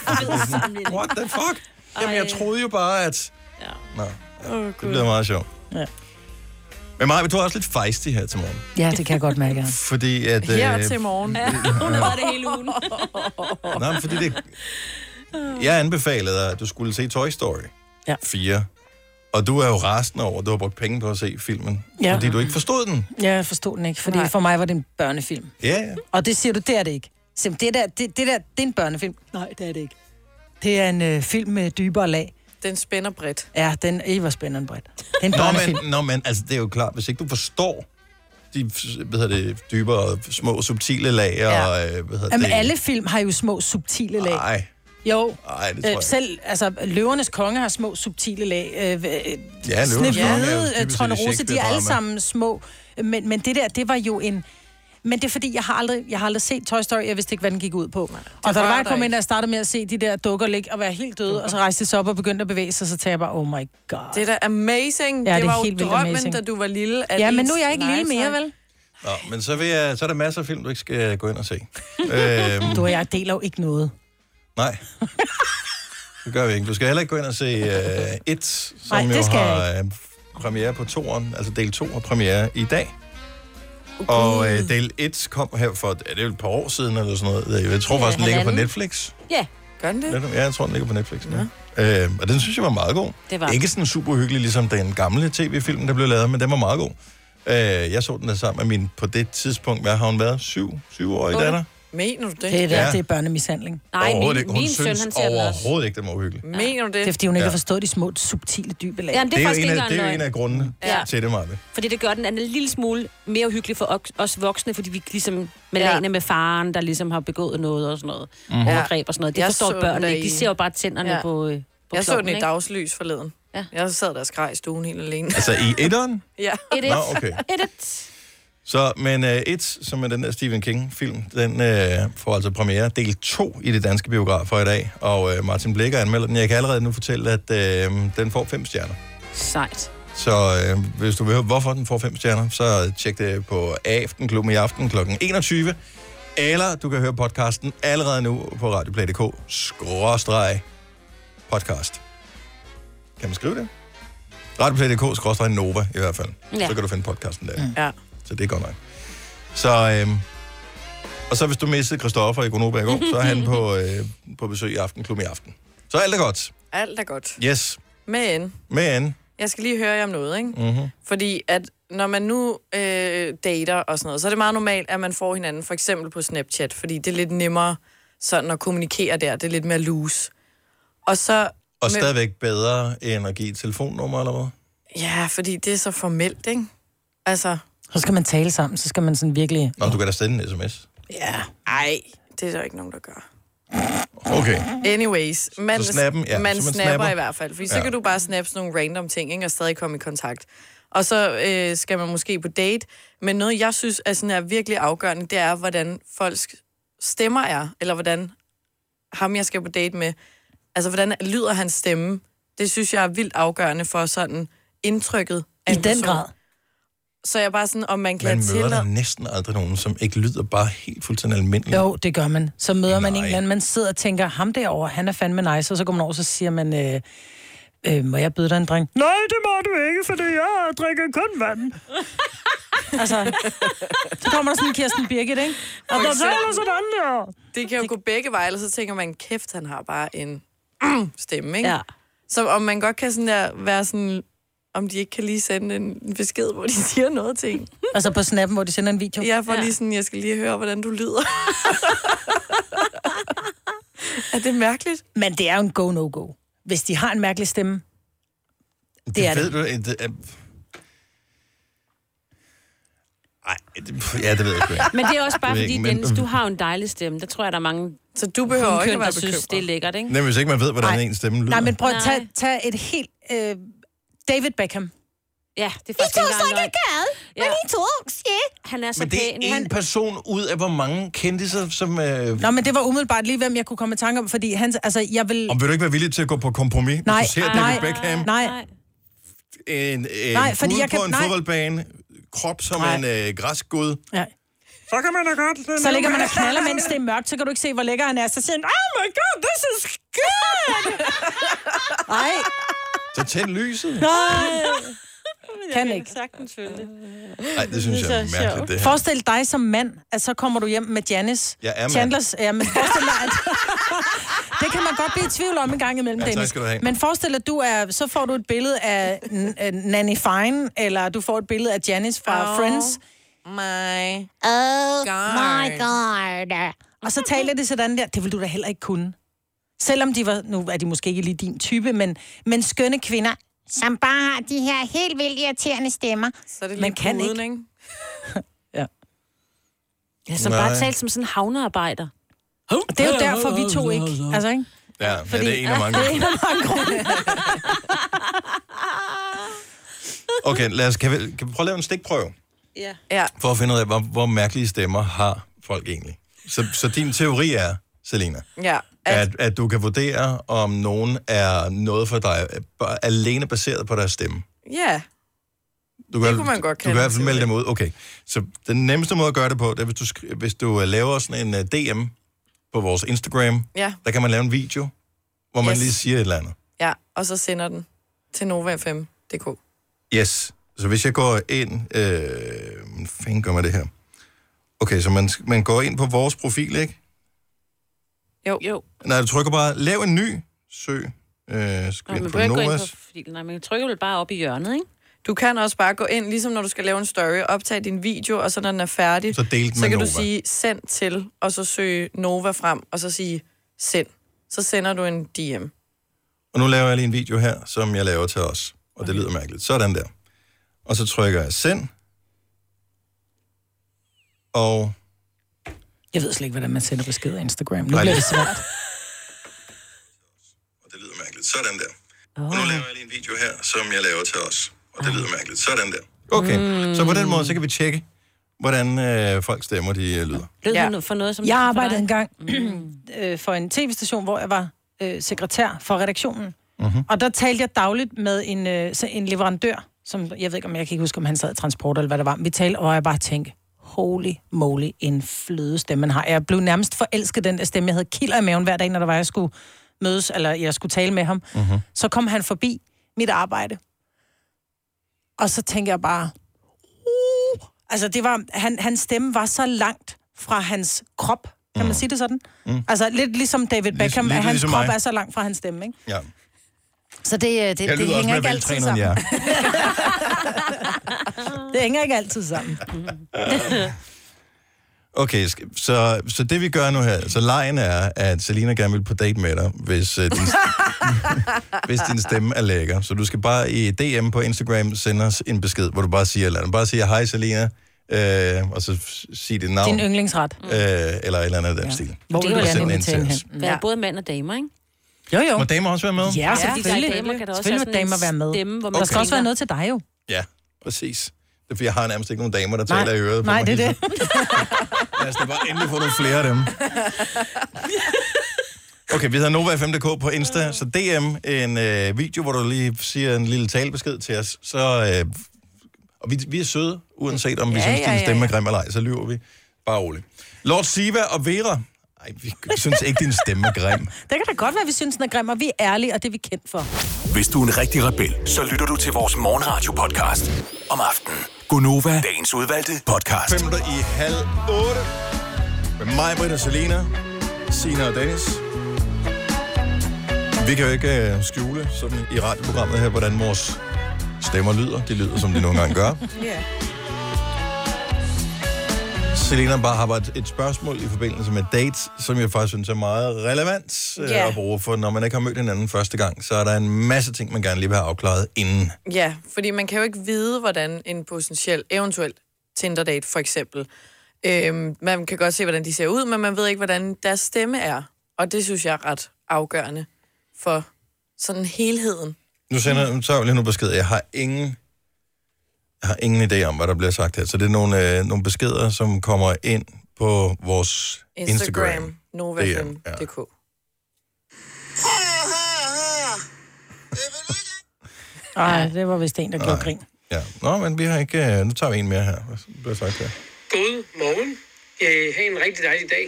[laughs] What the
[laughs]
fuck? Jamen, jeg troede jo bare, at...
Ja.
Nå, ja. det bliver meget sjovt.
Ja.
Men Maja, du er også lidt fejstig her til morgen.
Ja, det kan jeg godt mærke.
Fordi at... øh,
Her til morgen.
Hun har været det hele
[laughs]
ugen.
Nej, men fordi det... Jeg anbefalede dig, at du skulle se Toy Story
Ja.
4. Og du er jo rasende over, at du har brugt penge på at se filmen.
Ja.
Fordi du ikke forstod den.
Ja, jeg forstod den ikke, fordi for mig var det en børnefilm.
Ja, ja.
Og det siger du, det er det ikke. Sim, det, der, det, det der, det er en børnefilm. Nej, det er det ikke. Det er en øh, film med dybere lag.
Den spænder bredt.
Ja, den I var spændende bredt. Det [laughs] er en
Nå,
børnefilm.
men, nå, men altså, det er jo klart, hvis ikke du forstår de hvad hedder det, dybere, små, subtile lag, ja. og øh, hvad hedder
Jamen,
det...
alle film har jo små, subtile lag.
Nej,
Jo,
nej, det tror
øh,
jeg ikke.
selv, altså, løvernes konge har små, subtile lag. Øh, øh,
Ja, Løvernes Konge er jo dybest
Snefjede,
set
øh,
et
Trondrose, de er alle
Shakespeare-drama.
sammen små. Men, men det der, det var jo en... Men det er fordi, jeg har aldrig, jeg har aldrig set Toy Story, jeg vidste ikke, hvad den gik ud på. og da der
rører
var, jeg
dig
kom ind,
ikke.
og jeg startede med at se de der dukker ligge og være helt døde, og så rejste de sig op og begyndte at bevæge sig, så tænkte jeg bare, oh my god.
Det er da amazing.
Ja,
det,
det er
var jo
helt vildt
drømmen,
amazing.
da du var lille. at
Ja, men
ens-
nu er jeg ikke
Nej,
lille mere,
tak.
vel?
Nå, men så, vil jeg, så er der masser af film, du ikke skal gå ind og
[laughs]
se. øhm,
Du og jeg deler jo ikke noget.
nej. Det gør vi ikke. Du skal heller ikke gå ind og se øh, It, som
Nej,
jo
det skal jeg
har øh, premiere på toeren, altså del 2 og premiere i dag. Og øh, del 1 kom her for, er det jo et par år siden eller sådan noget. Jeg tror
Ja,
faktisk, den ligger på
halvanden.
Netflix.
Ja.
Gør den det?
Ja, jeg tror, den ligger på Netflix. Ja. Øh, og den synes jeg var meget god.
Det var den.
Ikke sådan super hyggelig, ligesom den gamle tv-film, der blev lavet, men den var meget god. Øh, jeg så den der sammen med min, på det tidspunkt, hvad har hun været? Syv, syvårig
Otte.
datter?
Mener du det?
Det er, der,
Ja.
ja. det er børnemishandling.
Overhovedet ikke. Hun synes overhovedet ikke, den var uhyggelig.
Mener du det?
Det er, fordi hun ikke
Ja.
har forstået de små, subtile, dybe lag.
Jamen, det er,
jo
faktisk
en
ikke
af, det er jo
engang
en af
løgn.
grundene ja.
Ja.
til det, Marve.
Fordi det gør den, den er en lille smule mere hyggelig for ok- os voksne, fordi vi ligesom med ja. med faren, der ligesom har begået noget og sådan noget.
Mhm.
Mm.
Ja.
Overgreb og sådan noget. Det
Jeg
jeg
så
forstår
den
børnene ikke.
i-
De ser jo bare tænderne
Ja.
ja. på, øh, på
Jeg så den
klovnen,
i
ikke?
dagslys forleden. Ja. Jeg sad der og skreg i stuen helt alene.
Altså i etteren?
ja.
Et,
Nå, okay.
Et, et.
Så, men uh, It, som er den der Stephen King-film, den uh, får altså premiere del 2 i det danske biografer i dag, og uh, Martin Blikker anmelder den. Jeg kan allerede nu fortælle, at uh, den får 5 stjerner.
Sejt.
Så øh, hvis du vil høre, hvorfor den får 5 stjerner, så tjek det på Aftenklubben i aften kl. 21. Eller du kan høre podcasten allerede nu på radioplay.dk. Skråstreg podcast. Kan man skrive det? Radioplay.dk skråstreg Nova i hvert fald. Ja.
Ja.
Så kan du finde podcasten der.
Ja.
Så det er godt nok. Så, øh, og så hvis du missede Christoffer i Gronoba i går, så er han på, øh, på besøg i Aftenklubben i aften. Så alt er godt.
Alt er godt.
Yes.
Men
Men...
jeg skal lige høre jer om noget, ikke?
Mm-hmm.
Fordi at når man nu øh, dater og sådan noget, så er det meget normalt, at man får hinanden for eksempel på Snapchat, fordi det er lidt nemmere sådan at kommunikere der. Det er lidt mere loose. Og så...
Og stadigvæk bedre end at give et telefonnummer, eller hvad?
Ja, fordi det er så formelt, ikke? Altså,
Så skal man tale sammen, så skal man sådan virkelig...
Nå, du kan da sende en sms.
ja. Ej, det er der ikke nogen, der gør.
Okay.
Anyways, man,
Så snappen, ja,
man,
så
man
man
snapper,
snapper.
i hvert fald, fordi så
Ja.
kan du bare snappe sådan nogle random ting, ikke, og stadig komme i kontakt. Og så øh, skal man måske på date, men noget, jeg synes er, sådan, er virkelig afgørende, det er, hvordan folks stemmer er, eller hvordan ham, jeg skal på date med, altså hvordan lyder hans stemme, det synes jeg er vildt afgørende for sådan indtrykket af I den person. grad. Så jeg er bare sådan, om man kan
Man
have
møder
tillid-
der næsten aldrig nogen, som ikke lyder bare helt fuldstændig almindelig.
Jo, det gør man. Så møder man
Nej.
en eller anden, man sidder og tænker, ham derovre, han er fandme nice, og så går man over, så siger man, øh, øh, må jeg byde dig en drink? Nej, det må du ikke, for jeg drikker kun vand. [laughs] altså, så kommer der sådan en Kirsten Birgit, ikke? Og der taler sådan der.
Det kan jo gå begge veje, eller så tænker man, kæft, han har bare en [clears throat] stemme, ikke? Ja. Så om man godt kan sådan der være sådan, om de ikke kan lige sende en en besked, hvor de [laughs] siger noget til en.
Altså på snappen, hvor de sender en video.
Jeg får ja. lige sådan, jeg skal lige høre, hvordan du lyder. [laughs] er det mærkeligt?
Men det er jo en go-no-go. Hvis de har en mærkelig stemme,
det,
er
ved du, øh, det er... Ej, det, ja, det ved jeg sgu
[laughs]
ikke.
Men det er også bare
Det ved
fordi,
jeg
men...
ikke,
Dennis, du har jo en dejlig stemme. Der tror jeg, der er mange
Så du behøver ikke
hunkøn,
at være
der synes,
bekymret.
det er lækkert, ikke?
Nej, hvis ikke man ved, hvordan ens stemme lyder.
Nej, men prøv at tage, tage et helt... Øh, David Beckham.
Ja, det er faktisk
talks
engang
like a
løgn. Ja. Han er så
men det er
pæn.
en
han...
person ud af hvor mange kendtiser, som... Øh...
Nå, men det var umiddelbart lige, hvem jeg kunne komme i tanke om, fordi han... Altså, jeg vil...
Om vil du ikke være villig til at gå på kompromis, hvis
Nej,
du ser
nej,
David Beckham?
Nej,
En,
Nej,
øh, nej,
fordi
fordi
jeg kan-
på en
nej.
fodboldbane, krop som
Nej.
en øh, græsgud.
Ja.
Så kan man da godt...
Så ligger man
[laughs]
og knaller, mens det er mørkt, så kan du ikke se, hvor lækker han er. Så siger han, oh my god, this is
[laughs]
good! Nej,
Så tænd lyset.
nej. Kan ikke.
Sagtens følge det.
Nej, det synes jeg er mærkeligt, det her.
Forestil dig som mand, at så kommer du hjem med Janice.
Jeg er mand.
Chandlers, ja, men forestil dig, at...
[laughs]
Det kan man godt blive i tvivl om en gang imellem,
Ja, tak
Dennis.
skal du have.
Men forestil dig, at du er, så får du et billede af n- øh, Nanny Fine, eller du får et billede af Janice fra
Oh.
Friends.
My
Oh
God.
my god. Og så taler det sådan der, det vil du da heller ikke kunne. Selvom de var, nu er de måske ikke lige din type, men, men skønne kvinder, som bare har de her helt vildt irriterende stemmer.
Så er det lige
Man kan
puden,
ikke.
ikke?
Ja, som
Nej.
bare talte som sådan en havnearbejder.
Det er jo derfor, vi to ikke. Altså, ikke?
Ja, Fordi, ja, det er en af
[laughs]
[laughs]
mange.
Det er en af mange grunde.
Okay, lad os, kan, vi, kan vi prøve at lave en stikprøve,
Ja.
ja.
for at finde ud af, hvor, hvor mærkelige stemmer har folk egentlig. Så, så din teori er, Selina,
Ja.
at, at du kan vurdere, om nogen er noget for dig, øh, bare alene baseret på deres stemme.
Ja.
Du
Det
kan,
kunne man godt
Du kan i
kalde
hvert
en
fald melde dem ud. Okay, så den nemmeste måde at gøre det på, det er, hvis du, skri- hvis du øh, laver sådan en øh, DM på vores Instagram.
Ja.
Der kan man lave en video, hvor man
Yes.
lige siger et eller andet.
Ja, og så sender den til NovaFM.dk.
Yes. Så hvis jeg går ind... Øh, hvordan fanden gør man det her? Okay, så man, sk- man går ind på vores profil, ikke?
Jo. jo.
Nej, du trykker bare, lav en ny søg. Øh,
Nå,
skal
man
ind på
behøver ikke gå ind
Novas.
på filen. Nej, man trykker vel bare op i hjørnet, ikke?
Du kan også bare gå ind, ligesom når du skal lave en story, optage din video, og så når den er færdig,
Så del den
så
med
kan du
Nova.
sige send til, og så søge Nova frem, og så sige send. Så sender du en DM.
Og nu laver jeg lige en video her, som jeg laver til os. Og det lyder mærkeligt. Sådan der. Og så trykker jeg send. Og
Jeg ved slet ikke, hvordan man sender beskeder på Instagram. Nu
Nej,
bliver
det-
det svært.
mærkeligt. Sådan der. Oh. Og nu laver jeg lige en video her, som jeg laver til os. Og det
Ah.
lyder mærkeligt. Sådan der. Okay, mm. så på den måde, så kan vi tjekke, hvordan øh, folk stemmer, de øh, lyder.
Lød ja. for noget, som
jeg
det var for
arbejdede
dig? Mm.
engang [clears throat] øh, for en tv-station, hvor jeg var øh, sekretær for redaktionen.
Mm-hmm.
Og der talte jeg dagligt med en, øh, så en leverandør, som jeg ved ikke, om jeg kan ikke huske, om han sad i transport eller hvad det var. Men vi talte, og jeg bare tænkte, holy moly, en fløde stemme man har. Jeg blev nærmest forelsket i den der stemme. Jeg havde kilder i maven hver dag, når der var, jeg skulle mødes, eller jeg skulle tale med ham.
Mhm.
Så kom han forbi mit arbejde. Og så tænkte jeg bare, uh, altså det var, han, hans stemme var så langt fra hans krop, kan man sige det sådan?
Mm.
Altså lidt ligesom David Beckham,
lidt
at hans
ligesom
krop
mig.
er så langt fra hans stemme, ikke?
Ja.
Så det, øh, det,
jeg
det
lyder
hænger
også mere
ikke altid
veltrænet end
sammen.
jer.
Det hænger ikke altid sammen.
[laughs] Okay, sk- så, så det vi gør nu her, så lejen er, at Selina gerne vil på date med dig, hvis, øh, din,
[laughs]
hvis din stemme er lækker. Så du skal bare i DM på Instagram sende os en besked, hvor du bare siger, eller andet. bare siger, hej Selina, øh, og så s- sig dit navn.
Din yndlingsret.
Øh, eller et eller andet af den ja. stil.
Hvor
Og
vil du
send
gerne
den ind
invitere
til
hende
os.
Mm. Være både mand og damer, ikke?
Jo, jo.
Må damer også være med?
Ja, selvfølgelig.
der er damer, kan der også
Selvfølgelig
have
må damer
sådan
være
en
med.
Stemme, hvor man
Der skal også være
tænker-
noget til dig jo.
Ja, præcis. Det er, fordi jeg har nærmest ikke nogen damer, der taler i øret. på
nej,
mig
det er
hele
det.
[laughs] Lad os da bare endelig få nogle flere af dem. Okay, vi hedder Nova 5.dk på Insta, så DM en øh, video, hvor du lige siger en lille talebesked til os. Så, øh, og vi, vi er søde, uanset om vi
Ja,
ja, synes,
ja,
ja, din
ja,
stemme er
ja.
grim eller ej, så lyver vi. Bare roligt. Lord Siva og Vera. Ej, vi synes ikke, din stemme er grim.
Det kan da godt være, vi synes, den er grim, og vi er ærlige, og det er vi kendt for.
Hvis du er en rigtig rebel, så lytter du til vores morgenradio-podcast om aftenen. Gunova, dagens udvalgte podcast.
5 minutter i halv 8. Med mig, Britt og Selina, Sina og Dennis. Vi kan jo ikke øh, skjule sådan i radioprogrammet her, hvordan vores stemmer lyder. De lyder, som de nogle gange gør.
Ja.
Selina bare har bare et- et spørgsmål i forbindelse med dates, som jeg faktisk synes er meget relevant øh,
Ja.
at bruge, for når man ikke har mødt hinanden første gang, så er der en masse ting, man gerne lige vil have afklaret inden.
Ja, fordi man kan jo ikke vide, hvordan en potentiel, eventuelt Tinder-date for eksempel, øhm, man kan godt se, hvordan de ser ud, men man ved ikke, hvordan deres stemme er. Og det synes jeg er ret afgørende for sådan helheden.
Nu sender så jeg lige nogle beskeder. Jeg har ingen, jeg har ingen idé om, hvad der bliver sagt her. Så det er nogle, øh, nogle beskeder, som kommer ind på vores Instagram.
Instagram, NovaFM.dk.
Nej, det var vist en, der gjorde
Nej.
grin.
Ja. Nå, men vi har ikke... Øh, nu tager vi en mere her. Hvad bliver sagt her?
God morgen. Øh, ha' en rigtig dejlig dag.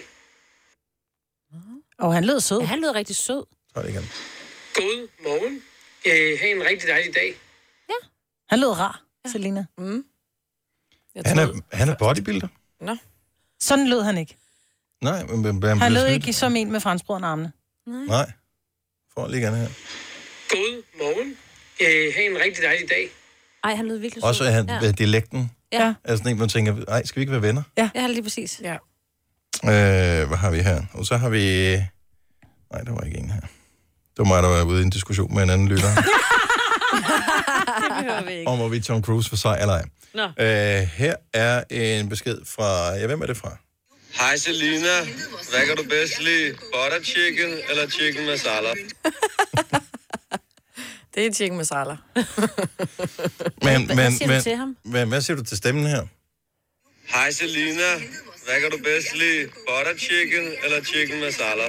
Og han lød sød.
Ja, han lød rigtig sød.
Tag det igen.
God morgen. Øh, ha' en rigtig dejlig dag.
Han lød rar, Selina.
Mm.
Han er, han er bodybuilder.
Nå.
Sådan lød han ikke.
Nej, men, men, men
Han, han
bliver
lød
snydt.
ikke som en med franskbrød og armene.
Nej. Får lige gerne her.
God morgen. Øh, ha' en rigtig dejlig dag.
Ej, han lød virkelig sød.
Også er han,
ja.
ja. dialekten.
Ja.
Er sådan en, man tænker, nej, skal vi ikke være venner?
ja.
ja, lige præcis.
Ja.
Øh, hvad har vi her? Og så har vi... Nej, der var ikke en her. Det var mig, der var ude i en diskussion med en anden lytter.
det behøver vi ikke.
om hvorvidt Tom Cruise for sig eller ej.
Nå.
Øh, her er en besked fra... Ja, hvem er det fra?
Hej Selina, hvad kan du bedst lide? Butter chicken eller chicken masala?
Det er chicken masala.
Men,
Hvad- hvad siger du til ham?
Men, hvad siger du til stemmen her?
Hej Selina, hvad kan du bedst lide? Butter chicken eller chicken masala?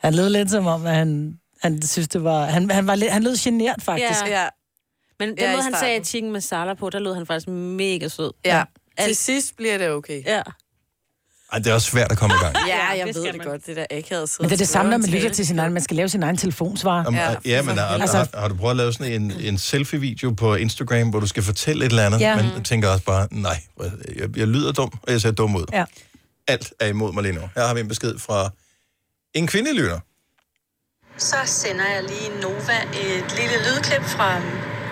Han lød lidt som om, at han, han synes, det var... Han, han, var lidt, han lød genert, faktisk.
Ja.
Men den
Ja, i
måde, han sagde
starten.
chicken masala på, der lød han faktisk mega sød.
Ja. Til sidst bliver det okay.
Ja.
Ej, det er også svært at komme
[laughs]
i gang.
Ja, jeg ved det godt, det der akavet sidder
Men det er det samme, når man lytter
til.
til sin egen. Man skal lave sin egen telefonsvar.
Om, ja, ja, men har, altså,
altså,
har, har du prøvet at lave sådan en, en selfie-video på Instagram, hvor du skal fortælle et eller andet,
Ja.
ja. men jeg tænker også bare, nej, hvor- jeg, jeg lyder dum, og jeg ser dum ud.
Ja.
Alt er imod mig lige nu. Her har vi en besked fra en kvindelig lytter.
Så sender jeg lige Nova et lille lydklip fra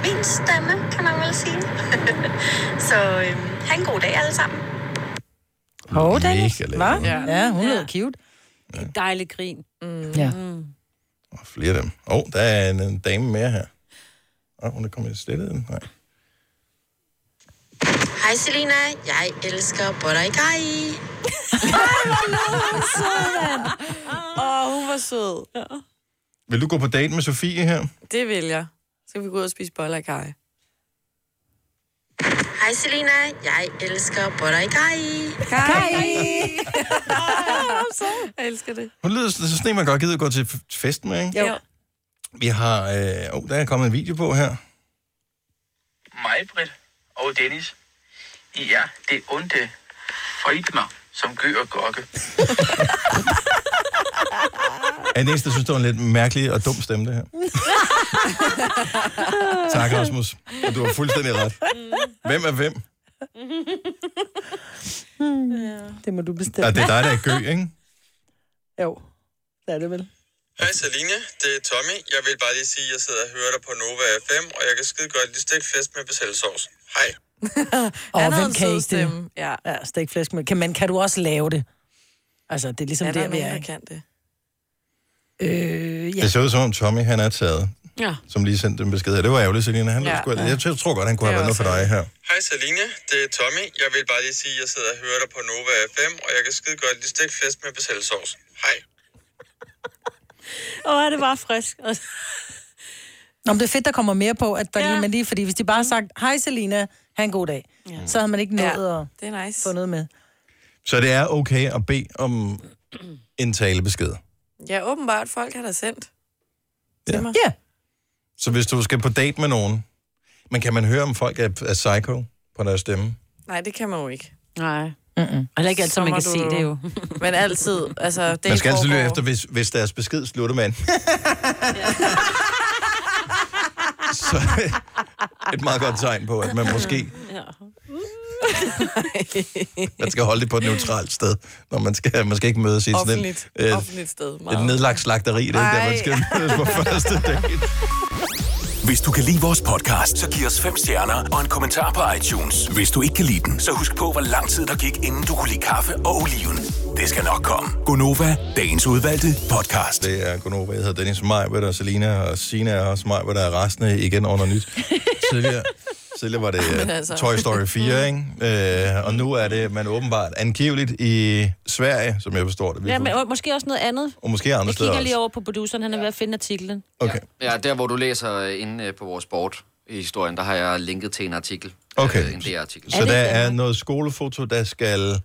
min stemme, kan man vel sige. [laughs] så øh, have en god dag alle sammen.
Hov, Dennis.
Mega
Hva? Ja. ja, hun lyder cute.
En dejlig grin.
Mm.
Ja.
Og flere af dem. Åh, oh, der er en, en dame mere her. Åh, oh, hun er kommet slettet den. Nej.
Hej Selina, jeg elsker Boraikai.
Åh, hun var sød.
Vil du gå på date med Sofie her?
Det vil jeg. Så kan vi gå ud og spise boller i kaj.
Hej Selina, jeg elsker Boraikai.
[laughs]
[laughs]
Jeg elsker det.
Hun lyder så sådan en, man godt gider gå til f- fest med, ikke?
Jo.
Vi har... Åh, øh, oh, der er kommet en video på her.
Mig, Britt og Dennis. I er det onde Friedmer, som gør og gokke.
Er det eneste, der synes, det var en lidt mærkelig og dum stemme, det her? Tak, Rasmus. Og Du har fuldstændig ret. Hvem er hvem?
Det må du bestemme.
Og det er dig, der er gø, ikke?
Jo, det er det vel.
Hej Saline, det er Tommy. Jeg vil bare lige sige, at jeg sidder og hører dig på Nova FM, og jeg kan skide godt lide stikflæsk med basilisauce. Hej.
Og
Han havde
hvem
en
kan
sød
ikke det?
stemme. Ja.
Ja, stikflæsk med. Kan, men kan du også lave det? Altså, det er ligesom
Ja, der
der,
er
vi er,
nogen, der
ikke?
kan det.
Øh, ja.
Det ser ud som om Tommy, han er taget,
Ja.
som lige sendte en besked. her. Det var ærgerligt, Selina. Han
Ja,
ja, sgu,
ja.
Jeg tror- tror godt, han kunne have været noget for dig her.
Hej Saline, det er Tommy. Jeg vil bare lige sige, at jeg sidder og hører dig på Nova FM, og jeg kan skide godt lide stikflæsk med basilisauce. Hej.
Åh, det var frisk.
Nå, men det er fedt, der kommer mere på, at der ja. lige, lige, fordi hvis de bare har sagt, hej Selina, have en god dag, ja. så havde man ikke nået ja. at
det er nice.
få noget med.
Så det er okay at bede om en talebesked.
Ja, åbenbart. Folk har da sendt.
Ja.
ja.
Så hvis du skal på date med nogen, men kan man høre, om folk er, er psycho på deres stemme?
Nej, det kan man jo ikke.
Nej.
Mm-mm.
Og ikke altid,
Så
man
må
kan
du
se det jo.
Men altid. Altså, det
Man skal altid lytte
foregår.
efter, hvis, hvis deres besked slutter
[laughs]
med en. Så [laughs] et meget godt tegn på, at man måske [laughs] man skal holde det på et neutralt sted, når man skal, man skal ikke mødes i sådan et,
Offentligt.
et,
Offentligt sted.
et nedlagt slagteri, det er ikke der, man skal mødes på første date.
Hvis du kan lide vores podcast, så giv os fem stjerner og en kommentar på iTunes. Hvis du ikke kan lide den, så husk på, hvor lang tid der gik, inden du kunne lide kaffe og oliven. Det skal nok komme.
Gonova, dagens udvalgte podcast. Det er Gonova, jeg hedder Dennis Majbert og Selina og Sina og også Majbert og resten af igen under nyt. Tidligere, tidligere var det
Men
altså.
altså.
Toy Story 4, ikke? Øh, og nu er det, man åbenbart angiveligt i Sverige, som jeg forstår det. Vi
Ja,
får-
men og måske også noget andet.
og måske andre
Jeg
steder
kigger lige
også.
over på produceren, han er ved at finde artiklen.
Okay.
Ja, der hvor du læser øh, inde øh, på vores board i historien, der har jeg linket til en artikel.
Okay.
Øh, en DR-artikel.
Så der er noget skolefoto, der skal,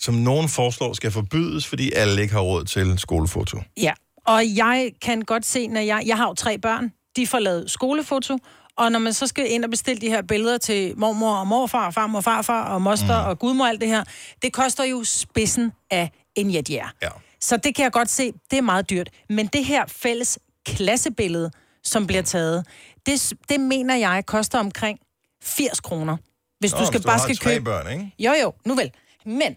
som nogen foreslår, skal forbydes, fordi alle ikke har råd til skolefoto.
Ja, og jeg kan godt se, når jeg... Jeg har jo tre børn, de får lavet skolefoto, og når man så skal ind og bestille de her billeder til mormor og morfar, og farmor og farfar og moster mm. og gudmor og alt det her, det koster jo spidsen af en jetjær.
Ja.
Så det kan jeg godt se, det er meget dyrt. Men det her fælles klassebillede, som bliver taget, det, s- det mener jeg koster omkring 80 kroner. Hvis
Nå,
du skal
hvis du
bare
har
skal
tre
købe...
børn, ikke?
Jo, jo, nu vel. Men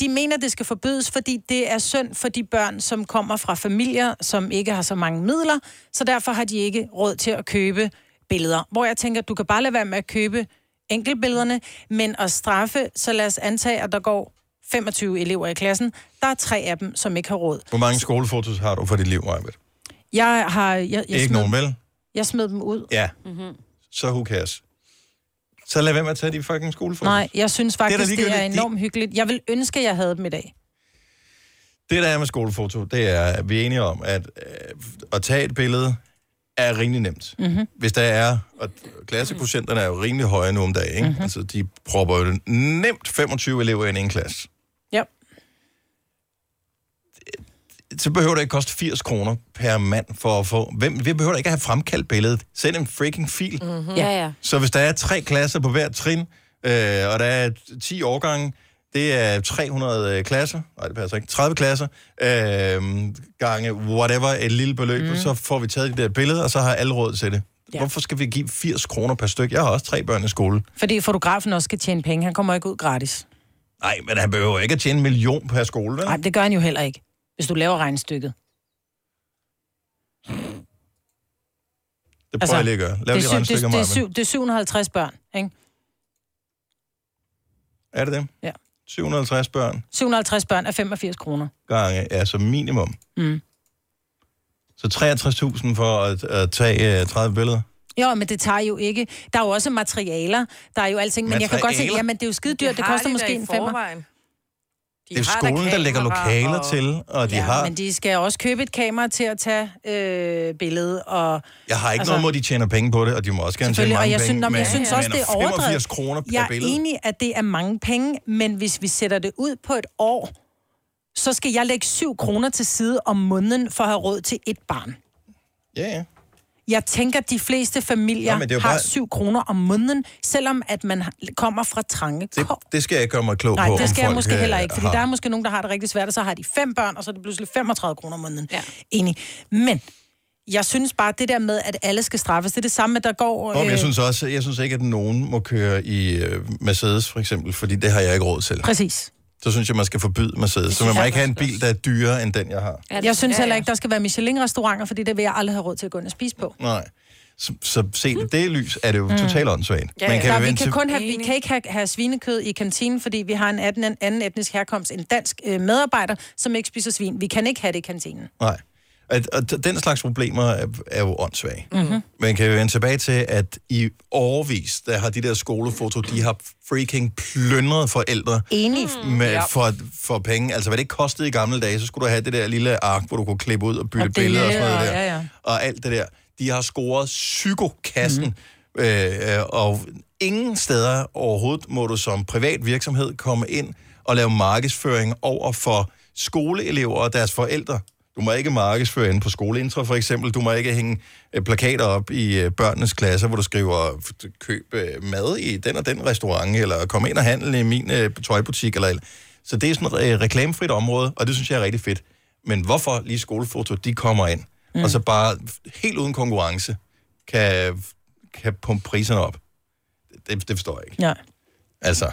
de mener, det skal forbydes, fordi det er synd for de børn, som kommer fra familier, som ikke har så mange midler, så derfor har de ikke råd til at købe billeder. Hvor jeg tænker, du kan bare lade være med at købe enkeltbillederne, men at straffe, så lad os antage, at der går 25 elever i klassen. Der er tre af dem, som ikke har råd.
Hvor mange skolefotos har du for dit liv, Majbert?
Jeg har... Jeg, jeg
Ikke
smed,
nogen, vel?
Jeg smed dem ud.
Ja.
Mm-hmm.
så who cares? Så lad være med at tage de fucking skolefotos.
Nej, jeg synes faktisk, det er, det er
ligegyldigt.
enormt hyggeligt. Jeg vil ønske, at jeg havde dem i dag.
Det, der er med skolefoto, det er, at vi er enige om, at øh, at tage et billede er rimelig nemt.
Mhm.
Hvis der er, og klassekocienterne er jo rimelig høje nu om dagen, ikke?
Mhm.
Altså, de propper jo nemt 25 elever ind i en klasse.
Ja.
så behøver det ikke koste 80 kroner per mand for at få... Hvem, vi behøver ikke at have fremkaldt billedet. Send en freaking fil.
Mm-hmm. Ja, ja.
Så hvis der er tre klasser på hver trin, øh, og der er 10 årgange, det er 300 øh, klasser, nej det passer ikke, 30 klasser, øh, gange whatever, et lille beløb, mm. og så får vi taget det der billede, og så har alle råd til det. Ja. Hvorfor skal vi give 80 kroner per styk? Jeg har også tre børn i skole.
Fordi fotografen også skal tjene penge. Han kommer ikke ud gratis.
Nej, men han behøver ikke at tjene en million per skole, vel?
Nej, det gør han jo heller ikke, hvis du laver regnstykket.
Det prøver altså, jeg lige at gøre. Lav
det,
det
er
lige
syv- det,
regnstykker,
det, det, er
Maja.
syv, det er 750 børn, ikke?
Er det det?
Ja.
750 børn
750 børn er 85 kroner.
gange, er som minimum.
Mm.
Så 63.000 for at, at tage øh, 30 billeder.
Jo, men det tager jo ikke. Der er jo også materialer. Der er jo alting, men jeg kan godt se,
Materialer?
jamen det er jo skide dyrt. Det
har
koster
de da
måske
i
en femmer.
forvejen.
De det er jo skolen, der lægger lokaler og... til, og de ja, har...
Men de skal også købe et kamera til at tage øh, billede. Og,
Jeg har ikke altså... noget mod, at de tjener penge på det, og de må også gerne tjene
Selvfølgelig,
mange
og jeg
penge.
synes, nå, men jeg
men-
synes også,
men
det er overdrevet.
85 kroner per
Jeg er
billede.
enig, at det er mange penge, men hvis vi sætter det ud på et år, så skal jeg lægge 7 kroner til side om måneden for at have råd til et barn.
Ja, ja.
Jeg tænker, at de fleste familier
Nå, men det er
Nå,
jo
har
bare-
7 kroner om måneden, selvom at man har- kommer fra trange
Det, det skal jeg ikke gøre mig klog
Nej,
på, om
det skal jeg
folk,
måske
øh,
heller ikke, fordi
har.
der er måske nogen, der har det rigtig svært, og så har de fem børn, og så er det pludselig 35 kroner om måneden. Ja. Enig. Men jeg synes bare, det der med, at alle skal straffes, det er det samme, at der går... øh,
Nå, men jeg synes også, jeg synes ikke, at nogen må køre i øh, Mercedes, for eksempel, fordi det har jeg ikke råd til.
Præcis.
Så synes jeg, man skal forbyde Mercedes. Så man må ikke have en bil, der er dyrere end den, jeg har.
Jeg synes heller ikke, der skal være Michelin-restauranter, fordi det vil jeg aldrig have råd til at gå ind og spise på.
Nej. Så, så set i det lys er det jo
Mm.
totalt åndssvagt. Man kan
Der,
jo
vi,
vente
kan
til...
kun have, vi kan ikke have, have svinekød i kantinen, fordi vi har en anden, en anden etnisk herkomst, en dansk øh, medarbejder, som ikke spiser svin. Vi kan ikke have det i kantinen.
Nej. At, at den slags problemer er, er jo åndssvage.
Mm-hmm.
Man kan jo vende tilbage til, at i årvis, der har de der skolefoto, de har freaking plyndret forældre
Enig.
med,
Mm. Ja.
for, for penge. Altså, hvad det kostede i gamle dage, så skulle du have det der lille ark, hvor du kunne klippe ud og bytte
Og dele,
billeder og sådan noget
og-
der.
ja, ja.
Og alt det der. De har scoret psykokassen,
Mhm.
mm. øh, øh, og ingen steder overhovedet må du som privat virksomhed komme ind og lave markedsføring over for skoleelever og deres forældre. Du må ikke markedsføre inde på skoleintra, for eksempel. Du må ikke hænge øh, plakater op i øh, børnenes klasser, hvor du skriver, f- køb øh, mad i den og den restaurant, eller kom ind og handle i min øh, tøjbutik. Eller, eller. Så det er sådan et øh, reklamefrit område, og det synes jeg er rigtig fedt. Men hvorfor lige skolefoto, de kommer ind, mm. og så bare helt uden konkurrence kan, kan pumpe priserne op? Det, det forstår jeg ikke.
Ja.
Altså,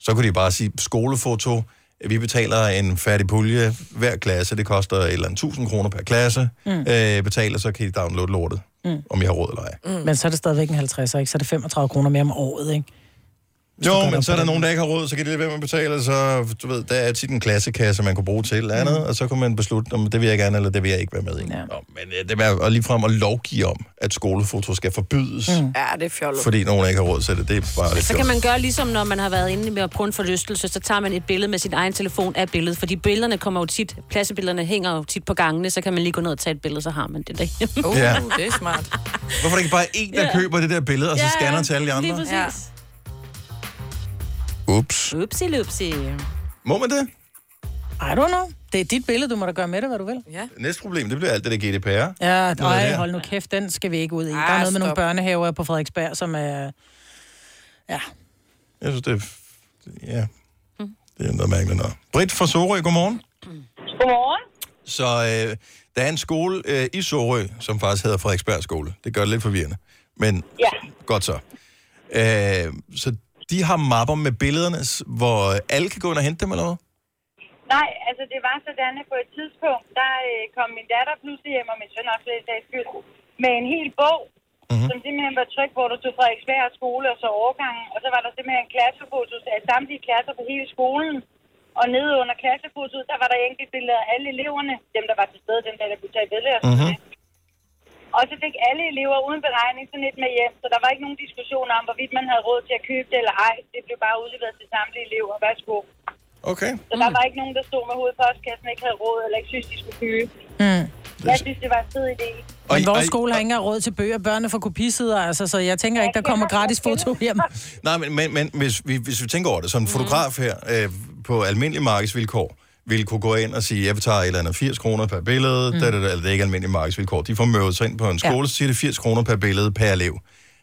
så kunne de bare sige, skolefoto, vi betaler en færdig pulje hver klasse, det koster et eller andet 1000 kroner per klasse, mm. øh, betaler, så kan I downloade lortet,
Mm.
om jeg har råd eller ej.
Mm. Men så er det stadigvæk en 50'er, ikke? Så er det 35 kroner mere om året, ikke?
Jo, men så er der nogen, der ikke har råd, så kan de lade være med at betale, så du ved, der er tit en klassekasse, man kunne bruge til eller andet, mm. og så kunne man beslutte, om det vil jeg gerne, eller det vil jeg ikke være med i. Ja. Nå, men øh, det er jo ligefrem at lovgive om, at skolefoto skal forbydes, mm.
Ja, det er fjollet.
fordi nogen ikke har råd til det. Det er bare lidt
Så kan
fjollet.
man gøre ligesom, når man har været inde med at prøve en forlystelse, så tager man et billede med sin egen telefon af billedet, fordi billederne kommer jo tit, pladsebillederne hænger jo tit på gangene, så kan man lige gå ned og tage et billede, så har man det derhjemme.
Oh, Ja.
det er smart.
Hvorfor er det ikke bare en, der
Ja.
køber det der billede, og så scanner til alle de andre?
Ja.
Ups.
Upsi, lupsi.
Må man det?
I don't know. Det er dit billede, du må da gøre med det, hvad du vil.
Ja,
Næste problem, det bliver alt det der GDPR.
ja
Noget
nej,
der.
hold nu kæft, den skal vi ikke ud i. Der
Ah,
er noget med nogle
stop.
børnehaver på Frederiksberg, som er... Ja.
Jeg synes, det er... Ja.
Mm.
Det er noget mærkeligt noget. Britt fra Sorø, godmorgen.
Godmorgen.
Så øh, der er en skole øh, i Sorø, som faktisk hedder Frederiksberg Skole. Det gør det lidt forvirrende. Men
Ja.
godt så. Øh, så de har mapper med billederne, s- hvor øh, alle kan gå ind og hente dem, eller hvad?
Nej, altså det var sådan, at på et tidspunkt, der øh, kom min datter pludselig hjem, og min søn også lidt sags skyld, med en hel bog, mm-hmm. som simpelthen var trykt, hvor der stod Frederiksberg skole og så årgangen, og så var der simpelthen klassefotos af samtlige klasser på hele skolen, og nede under klassefotoet, der var der enkelt billeder af alle eleverne, dem der var til stede, dem der, der kunne tage billeder. Mm-hmm. Og så fik alle elever uden beregning sådan et med hjem, så der var ikke nogen diskussion om, hvorvidt man havde råd til at købe det eller ej. Det blev bare udleveret til samtlige elever. Værsgo.
Okay.
Så
Mhm.
der var ikke nogen, der stod med hovedet på postkassen, ikke havde råd, eller ikke synes, de skulle købe.
Mm.
Jeg synes, det var en fed idé.
Men vores
I-
skole har ikke engang råd til bøger, børnene får kopisider, altså, så jeg tænker ikke, der kommer gratis foto hjem.
Mhm. Nej, men, men, men hvis, vi, hvis vi tænker over det, som en fotograf her øh, på almindelige markedsvilkår, ville kunne gå ind og sige, jeg tager et eller andet 80 kroner per billede, mm. da, da, da, eller det er ikke almindelige markedsvilkår. De får møvet sig ind på en skole, ja. så siger det 80 kroner per billede per elev.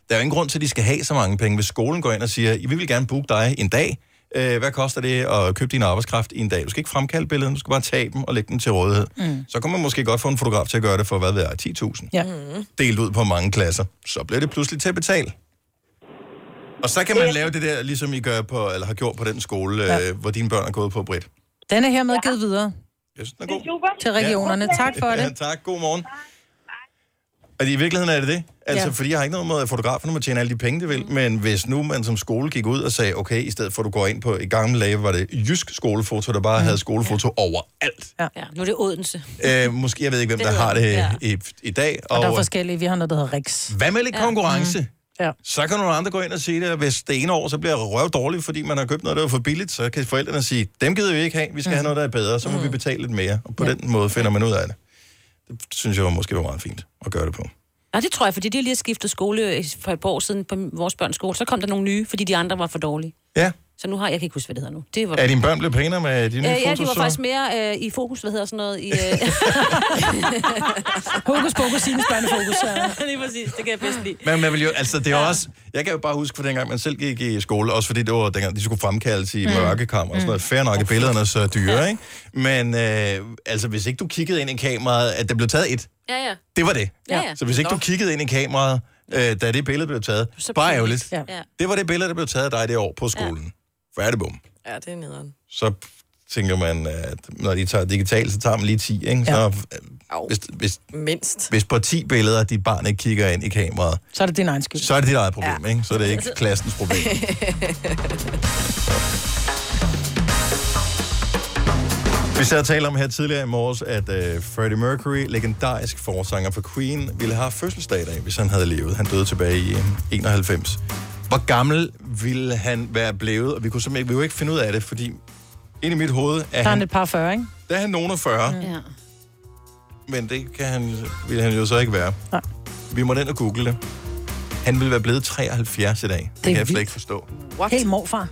Der er jo ingen grund til, at de skal have så mange penge, hvis skolen går ind og siger, vi vil gerne booke dig en dag. Øh, hvad koster det at købe din arbejdskraft i en dag? Du skal ikke fremkalde billederne, du skal bare tage dem og lægge dem til rådighed. Mm. Så kan man måske godt få en fotograf til at gøre det for, hvad ved jeg, 10.000
Ja.
delt ud på mange klasser, så bliver det pludselig til at betale. Og så kan man lave det der, ligesom I gør på, eller har gjort på den skole, ja. øh, hvor dine børn er gået på, Britt.
Den er hermed givet videre.
Jeg synes, den
er god. Til regionerne. Tak for
Ja,
det.
[laughs] tak. God morgen. Og i virkeligheden er det det. Altså,
Ja.
ja. fordi jeg har ikke noget mod, at fotograferne må tjene alle de penge, de vil. Mm. Men hvis nu man som skole gik ud og sagde, okay, i stedet for at du går ind på, i gamle dage var det jysk skolefoto, der bare mm. havde skolefoto ja. overalt.
Ja.
ja, nu er det Odense.
Øh, måske, jeg ved ikke, hvem
Det
der
ved
har
jeg.
det
Ja.
ja. i, i dag.
Og, og der er forskellige. Vi har noget, der hedder Riks.
Hvad med lidt
Ja. Mm.
konkurrence?
Ja.
Så kan nogle andre gå ind og sige det, og hvis det ene år, så bliver røv dårligt, fordi man har købt noget, der er for billigt, så kan forældrene sige, dem gider vi ikke have, vi skal have noget, der er bedre, så må vi betale lidt mere. Og på ja. den måde finder man ud af det. Det synes jeg var måske var meget fint at gøre det på.
Nej, det tror jeg, fordi de har lige skiftet skole øh, for et par år siden på vores børns skole. Så kom der nogle nye, fordi de andre var for dårlige.
Ja.
Så nu har jeg kan ikke huske, hvad det hedder nu. Det var...
Er dine børn blevet pænere med de nye
Øh, ja, de
fotos,
var
så?
faktisk mere øh, i fokus, hvad hedder sådan noget, i... [laughs] Øh...
Hokus pokus, sine børnefokus.
Ja. [laughs] Lige præcis, det kan jeg bedst lide.
Men man vil jo, altså det er ja. også, jeg kan jo bare huske fra dengang, man selv gik i skole, også fordi det var dengang, de skulle fremkaldes i
Mm.
mm. mørkekammer og sådan noget. Fair nok, at billederne er så dyre, ikke? Men øh, altså, hvis ikke du kiggede ind i kameraet, at der blev taget et,
Ja, ja.
det var det.
Ja, ja.
Så hvis ikke du
Nå.
kiggede ind i kameraet, øh, da det billede blev taget, bare ærgerligt.
Ja.
Det var det billede, der blev taget af dig det år på skolen. Ja. Færdigbum.
Ja, det er nederen.
Så tænker man, at når de tager digitalt, så tager man lige 10, ikke? Så, øh, hvis, hvis,
Mindst.
hvis på 10 billeder, dit barn ikke kigger ind i kameraet,
Så er det din egen skyld.
så er det dit eget problem, ja. ikke? Så er det ikke klassens problem. Vi sad og talte om her tidligere i morges, at øh, Freddie Mercury, legendarisk forsanger for Queen, ville have haft fødselsdag i dag, hvis han havde levet. Han døde tilbage i øh, 91. Hvor gammel ville han være blevet? Og vi kunne simpelthen ikke, vi kunne ikke finde ud af det, fordi ind i mit hoved er
Der er han
han,
et par 40, ikke?
der er han nogen af 40, mm.
Ja.
men det kan han, ville han jo så ikke være. Nej. Vi må ind og google det. Han ville være blevet 73 i dag. Det, det kan jeg slet ikke forstå.
What?
Helt morfar.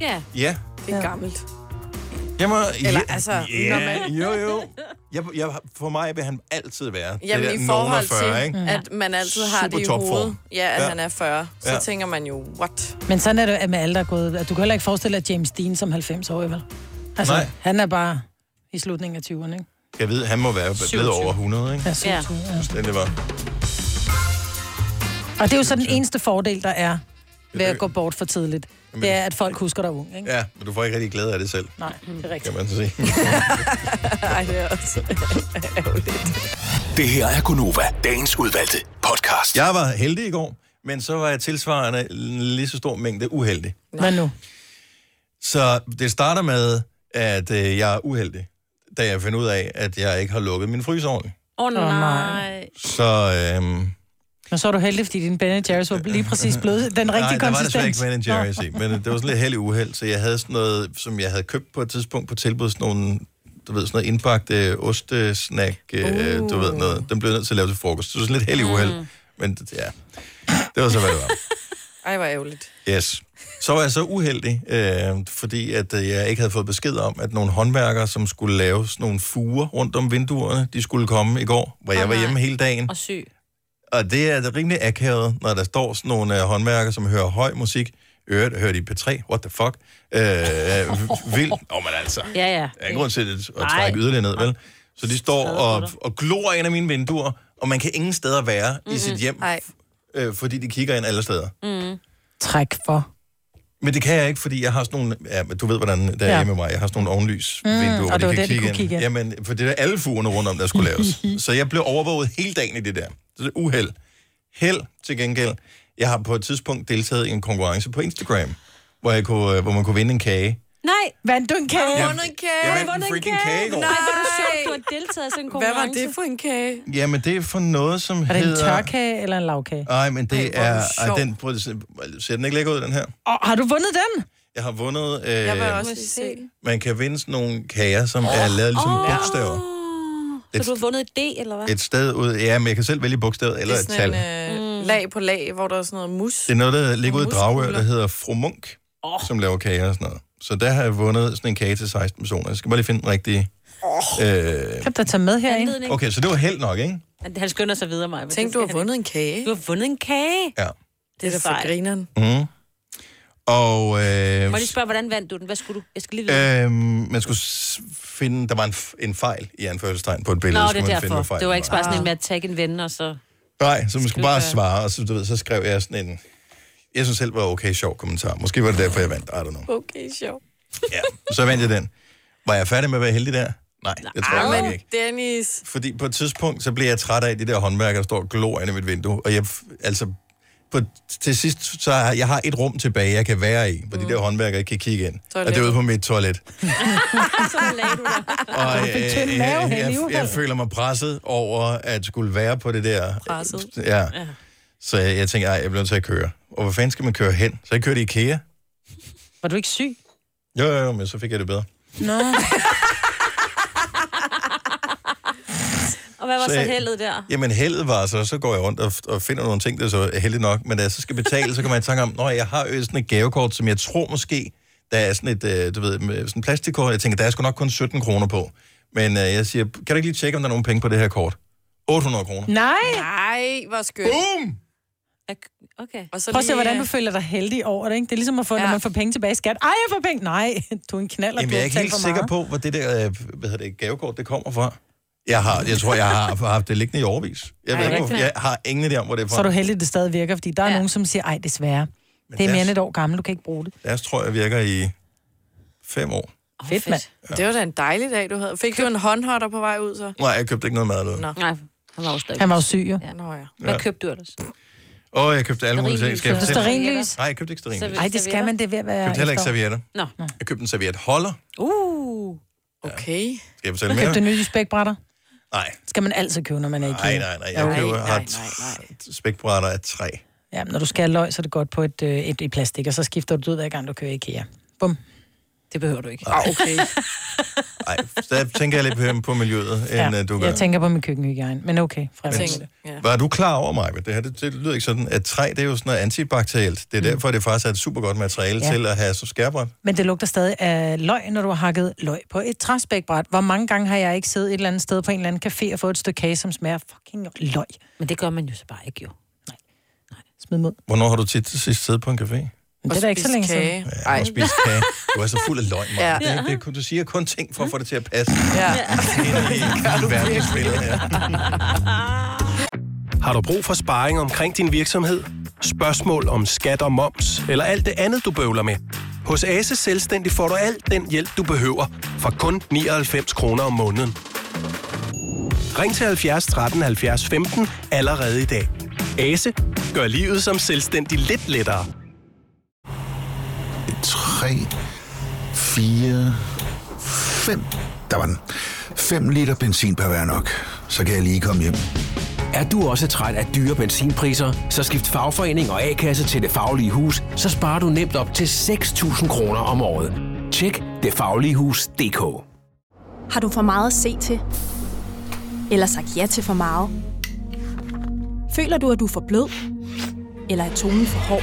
Ja.
Ja.
Det er gammelt.
Jeg må,
Eller altså, når
yeah,
man-
jo, jo. Jeg, jeg, for mig vil han altid være
Jamen
det der
i
nogen af
forhold
40,
til,
ikke?
at man altid har
Super
det i
topform.
hovedet, ja, at
Ja.
han er 40, så
Ja.
tænker man jo, what?
Men sådan er det med alle, der er gået. Du kan heller ikke forestille dig James Dean som 90 år, vel? Altså,
Nej.
han er bare i slutningen af 20'erne, ikke?
Jeg ved, han må være blevet
27.
over 100, ikke?
Ja, 27, ja.
Den det var.
Og det er jo så den eneste fordel, der er ved at gå bort for tidligt.
Jamen,
Det er, at folk husker dig ung, ikke?
Ja, men du får ikke rigtig glæde af det selv.
Nej, det er
Kan
rigtigt.
man så sige.
Ej, det er også
Det her er Gunova, dagens udvalgte podcast.
Jeg var heldig i går, men så var jeg tilsvarende en lige så stor mængde uheldig.
Hvad nu?
Så det starter med, at øh, jeg er uheldig, da jeg finder ud af, at jeg ikke har lukket min fryser ordentligt.
Åh oh,
Åh,
nej.
Så øhm,
Men så er du heldig, fordi din Ben Jerry's var lige
[laughs]
præcis blevet den rigtige
der var
konsistens.
desværre ikke Ben Jerry's i, men øh, det var sådan lidt heldig uheld, så jeg havde sådan noget, som jeg havde købt på et tidspunkt på tilbud, sådan nogle, du ved, sådan noget indbagt øh, ostesnack, øh, uh. du ved noget. Den blev jeg nødt til at lave til frokost. Så det var sådan lidt heldig uheld,
Mm.
mm. men det- ja, det var så, hvad det var.
Ej, hvor ærgerligt.
Yes. Så var jeg så uheldig, øh, fordi at øh, jeg ikke havde fået besked om, at nogle håndværkere, som skulle lave sådan nogle fuger rundt om vinduerne, de skulle komme i går, hvor jeg var hjemme hele dagen.
Ah, Og syg.
Og det er det rimelig akavet, når der står sådan nogle øh, håndværkere, som hører høj musik. Øret hører de P3, what the fuck? Øh, v- vild. Åh, oh, men altså.
Ja, ja.
Der er ingen grund til det, at
Nej.
trække yderligere ned, vel? Så de står og, og glor ind af mine vinduer, og man kan ingen steder være mm-hmm. i sit hjem, øh, fordi de kigger ind alle steder.
Mm.
Træk for.
Men det kan jeg ikke, fordi jeg har sådan nogle... Ja, men du ved, hvordan det er
Ja.
ja. med mig. Jeg har sådan nogle ovenlys
Mm,
vinduer,
og
hvor
det var
de kan
det, de
kigge
kunne
ind.
kigge ind.
Jamen, for det er alle fugerne rundt om, der skulle laves.
[laughs]
så jeg blev overvåget hele dagen i det der. Så det er uheld. Held til gengæld. Jeg har på et tidspunkt deltaget i en konkurrence på Instagram, hvor, jeg kunne, øh, hvor man kunne vinde en kage.
Nej,
vandt du en kage?
Jeg- jeg vandt en freaking kage i går.
Nej, hvor er det sjovt, du har deltaget i sådan
Hvad
en konkurrence.
var det for en kage?
Jamen, det er for noget, som
Er det
hedder...
en tørkage eller en lavkage?
Nej, men det
hvor er
er...
du sjov.
Ej, den, prøv, at se- ser den ikke lækker ud, den her?
Og har du vundet den?
Jeg har vundet... Øh,
lige se.
Man kan vinde sådan nogle kager, som oh. er lavet ligesom oh. bogstaver.
Ah. Så du har vundet et D, eller hvad?
et sted ud. Ja, men jeg kan selv vælge bogstavet eller et
Sådan
øh,
tal.
en øh, lag på lag, hvor der er sådan noget mus.
Det er noget, der ligger ud i Dragør, der hedder Fru Munk. oh. som laver kager og sådan noget. Så der har jeg vundet sådan en kage til 16 personer. Jeg skal bare lige finde den rigtige... Oh. Øh...
Kan du da tage med her, ikke?
Okay, så det var held nok, ikke?
Han skynder sig videre, mig. Tænk, du har vundet
en kage.
Du har vundet en kage.
Ja.
Det er da for
grineren.
Mm. Og... Øh...
Må jeg lige spørge, hvordan vandt du den? Hvad skulle du? Jeg skal lige vide.
Øhm, man skulle s- finde, der var en, f- en fejl i anførselstegn på et billede.
Nå,
skulle
det
man
er
finde, hvad
derfor. Ah.
fejlen
Det var ikke bare sådan en med at tagge en ven, og [laughs] så...
Nej, så man skulle bare
Skal du
svare, og så, du ved, så skrev jeg sådan en... Jeg synes selv, var okay sjov kommentar. Måske var det derfor, jeg vandt. I don't know.
Okay, sjov.
Så vandt jeg den. Var jeg færdig med at være heldig der? Nej, det tror jeg
Ej,
faktisk
men
ikke.
Dennis.
Fordi på et tidspunkt, så blev jeg træt af de der håndværkere, der står og glor ind i mit vindue. Og jeg, f- altså, på, til sidst, så har jeg har et rum tilbage, jeg kan være i, hvor de der håndværkere ikke kan kigge ind. Og det er ude på mit toilet.
så lagde du dig.
Og
Du
øh,
fik tynd
øh,
mave,
jeg,
Henning,
jeg,
uha.
jeg føler mig presset over at skulle være på det der.
Presset.
Ja. Så jeg, jeg tænker, ej, jeg bliver nødt til at køre. Og hvor fanden skal man køre hen? Så jeg kørte i IKEA.
Var du ikke syg?
Jo, jo, jo, men så fik jeg det bedre.
Nå.
Og hvad var så,
Så jeg-
heldet der?
Jamen, heldet var så, så går jeg rundt og, og finder nogle ting, der så er heldigt nok. Men da jeg så skal betale, så kommer jeg i tanke om, at jeg har jo sådan et gavekort, som jeg tror måske, der er sådan et, øh, du ved, med sådan et plastikkort. Jeg tænker, der er sgu nok kun 17 kroner på. Men øh, jeg siger, kan du ikke lige tjekke, om der er nogen penge på det her kort? 800 kroner.
[laughs] Nej.
Nej, hvor skønt.
Boom!
Okay.
Og øh,
Prøv at se, hvordan du føler dig heldig over det, ikke? Det er ligesom at få, ja. når man får penge tilbage i skat. Ej, jeg får penge. Nej, du er en knaller,
Jamen,
du
jeg er
har
ikke
betalt
helt
for
sikker
meget.
på, hvor det der øh, hvad hedder det, gavekort det kommer fra. Jeg, har, jeg tror, jeg har [laughs] haft det liggende i overvis. Jeg,
Ej,
ved
er det
ikke, hvor, jeg
rigtigt?
har ingen idé om, hvor det er fra.
Så er du heldig, det stadig virker, fordi der er ja. nogen, som siger, ej, desværre. Men det er mere
deres-
end et år gammel, du kan ikke bruge det.
Deres tror jeg virker i fem år.
Oh, fedt, mand.
Ja.
Det var da en dejlig dag, du havde. Fik du en håndhotter på vej ud, så?
Nej, jeg købte ikke noget mad noget.
Nå.
Nej, han var jo stadig.
Han var jo syg, jo.
Ja, nå ja.
Ja.
Hvad købte du ellers?
Åh, jeg købte alle mulige
Stearinlys.
ting. Skal jeg
Købte du
fortælle-
stearinlys?
Nej, jeg købte ikke sterinlys.
Ej, det skal man, det er ved at være...
Jeg købte heller ikke
efterår.
servietter.
Nå.
Jeg købte en servietholder.
Uh,
okay.
Skal jeg
Du
fortælle
købte
mere?
nye spækbrætter.
Nej.
Skal man altid købe, når man er i
Nej, nej, nej. Jeg køber, har t- spækbrætter af træ.
Ja, men når du skal have løg, så er det godt på et, øh, et i plastik, og så skifter du det ud, hver gang du kører i IKEA. Bum. Det behøver du ikke.
Ah,
okay.
Nej, så der tænker jeg lidt mere på miljøet, end ja, du gør.
Jeg tænker på min køkkenhygiejne, men okay. Fremad.
øh, Men-
med det.
Var du klar over mig? Det her det, det lyder ikke sådan, at træ det er jo sådan noget antibakterielt. Det er derfor, det faktisk er et super godt materiale
Ja.
Mm. ja. til at have som skærbræt.
Men det lugter stadig af løg, når du har hakket løg på et træspækbræt. Hvor mange gange har jeg ikke siddet et eller andet sted på en eller anden café og fået et stykke kage, som smager fucking løg?
[laughs] Men det gør man jo så bare ikke, jo.
Smid mod.
Hvornår har du tit sidst siddet på en café?
Det er da ikke så længe siden.
Ja, og spist kage. Du er så fuld af løgn,
Ja.
ja. det, er- det, er kun- du siger kun ting for at få det til at passe.
Ja.
Ind i, [laughs] i verdensbilledet her.
Har du brug for sparring omkring din virksomhed? Spørgsmål om skat og moms, eller alt det andet, du bøvler med? Hos Ase Selvstændig får du alt den hjælp, du behøver, for kun 99 kroner om måneden. Ring til 70 13 70 15 allerede i dag. Ase gør livet som selvstændig lidt lettere.
3, 4, 5. Der var den. 5 liter benzin per hver nok. Så kan jeg lige komme hjem.
Er du også træt af dyre benzinpriser, så skift fagforening og A-kasse til Det Faglige Hus, så sparer du nemt op til 6.000 kroner om året. Tjek detfagligehus.dk
Har du for meget at se til? Eller sagt ja til for meget? Føler du, at du er for blød? Eller er tonen for hård?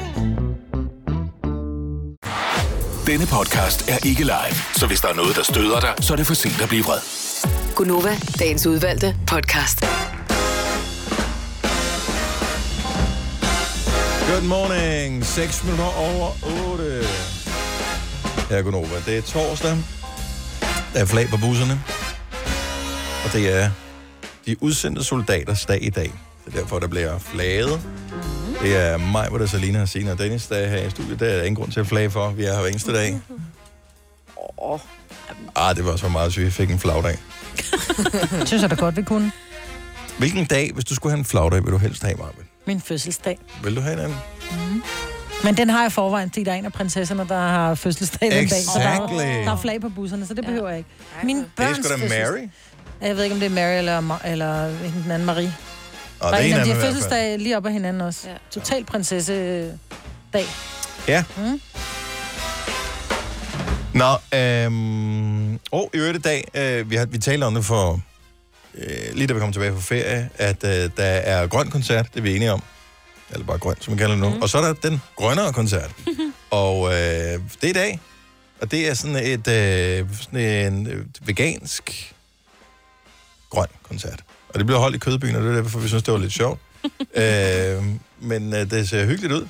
Denne podcast er ikke live, så hvis der er noget, der støder dig, så er det for sent at blive vred.
Gunova, dagens udvalgte podcast.
Good morning. 6 minutter over 8. Her er Gunova. Det er torsdag. Der er flag på busserne. Og det er de udsendte soldaters dag i dag. Det er derfor, der bliver flaget. Det er mig, hvor der er Salina, Sina og Dennis, der er her i studiet. Der er der ingen grund til at flage for. Vi er her hver eneste dag.
Åh,
Ah, det var også for meget, så vi fik en flagdag.
Jeg synes, at det godt, vi kunne.
Hvilken dag, hvis du skulle have en flagdag, vil du helst have, Marvin?
Min fødselsdag.
Vil du have en anden?
Mm. Men den har jeg i forvejen, fordi der er en af prinsesserne, der har fødselsdag den dag. Så der, er-
Exactly.
der er flag på busserne, så det behøver jeg ikke. Min
Det er
børns
sgu da
fødselsdag-
Mary.
Jeg ved ikke, om det er Mary eller, Ma- eller hende den anden Marie.
Nå, Ah, det
der
er
er en
en af
af de
dem i
har
hvert
fødselsdag lige op ad hinanden også. Ja. Total prinsesse-dag.
Ja.
Mm.
Nå, øhm, og i øvrigt i dag, øh, vi, har, vi talte om det for, øh, lige da vi kom tilbage fra ferie, at øh, der er grøn koncert, det er vi enige om. Eller bare grøn, som man kalder det nu. Mm. Og så er der den grønnere koncert. og øh, det er i dag. Og det er sådan et øh, sådan en øh, vegansk grøn koncert. Og det bliver holdt i Kødbyen, og det er derfor, vi synes, det var lidt sjovt. øh, men øh, det ser hyggeligt ud.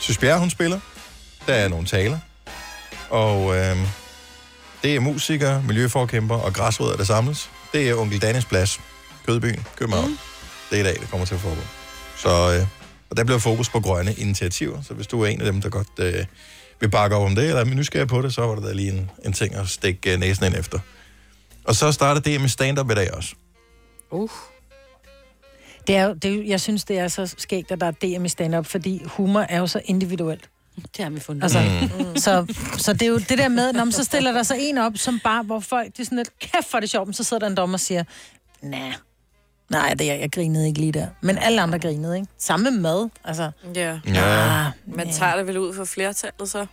Søs Bjerre, hun spiller. Der er nogle taler. Og øh, det er musikere, miljøforkæmper og græsrødder, der samles. Det er Onkel Dannes Plads, Kødbyen, København. Mm. Det er i dag, det kommer til at foregå. Så øh, og der bliver fokus på grønne initiativer. Så hvis du er en af dem, der godt øh, vil bakke op om det, eller er nysgerrig på det, så var der da lige en, en ting at stikke øh, næsen ind efter. Og så starter det med stand-up i dag også.
Uh. Det er jo, det er, jo- jeg synes, det er så skægt, at der er DM i stand-up, fordi humor er jo så individuelt.
Det har vi fundet.
Altså,
Mm.
mm. så, så det er jo det der med, når så stiller der sig en op, som bare, hvor folk, det er sådan lidt, kæft for det er sjovt, men så sidder der en dommer og siger, nej, nej, det er, jeg grinede ikke lige der. Men alle andre grinede, ikke? Samme med mad, altså.
Ja.
Ja.
Man tager det vel ud for flertallet, så?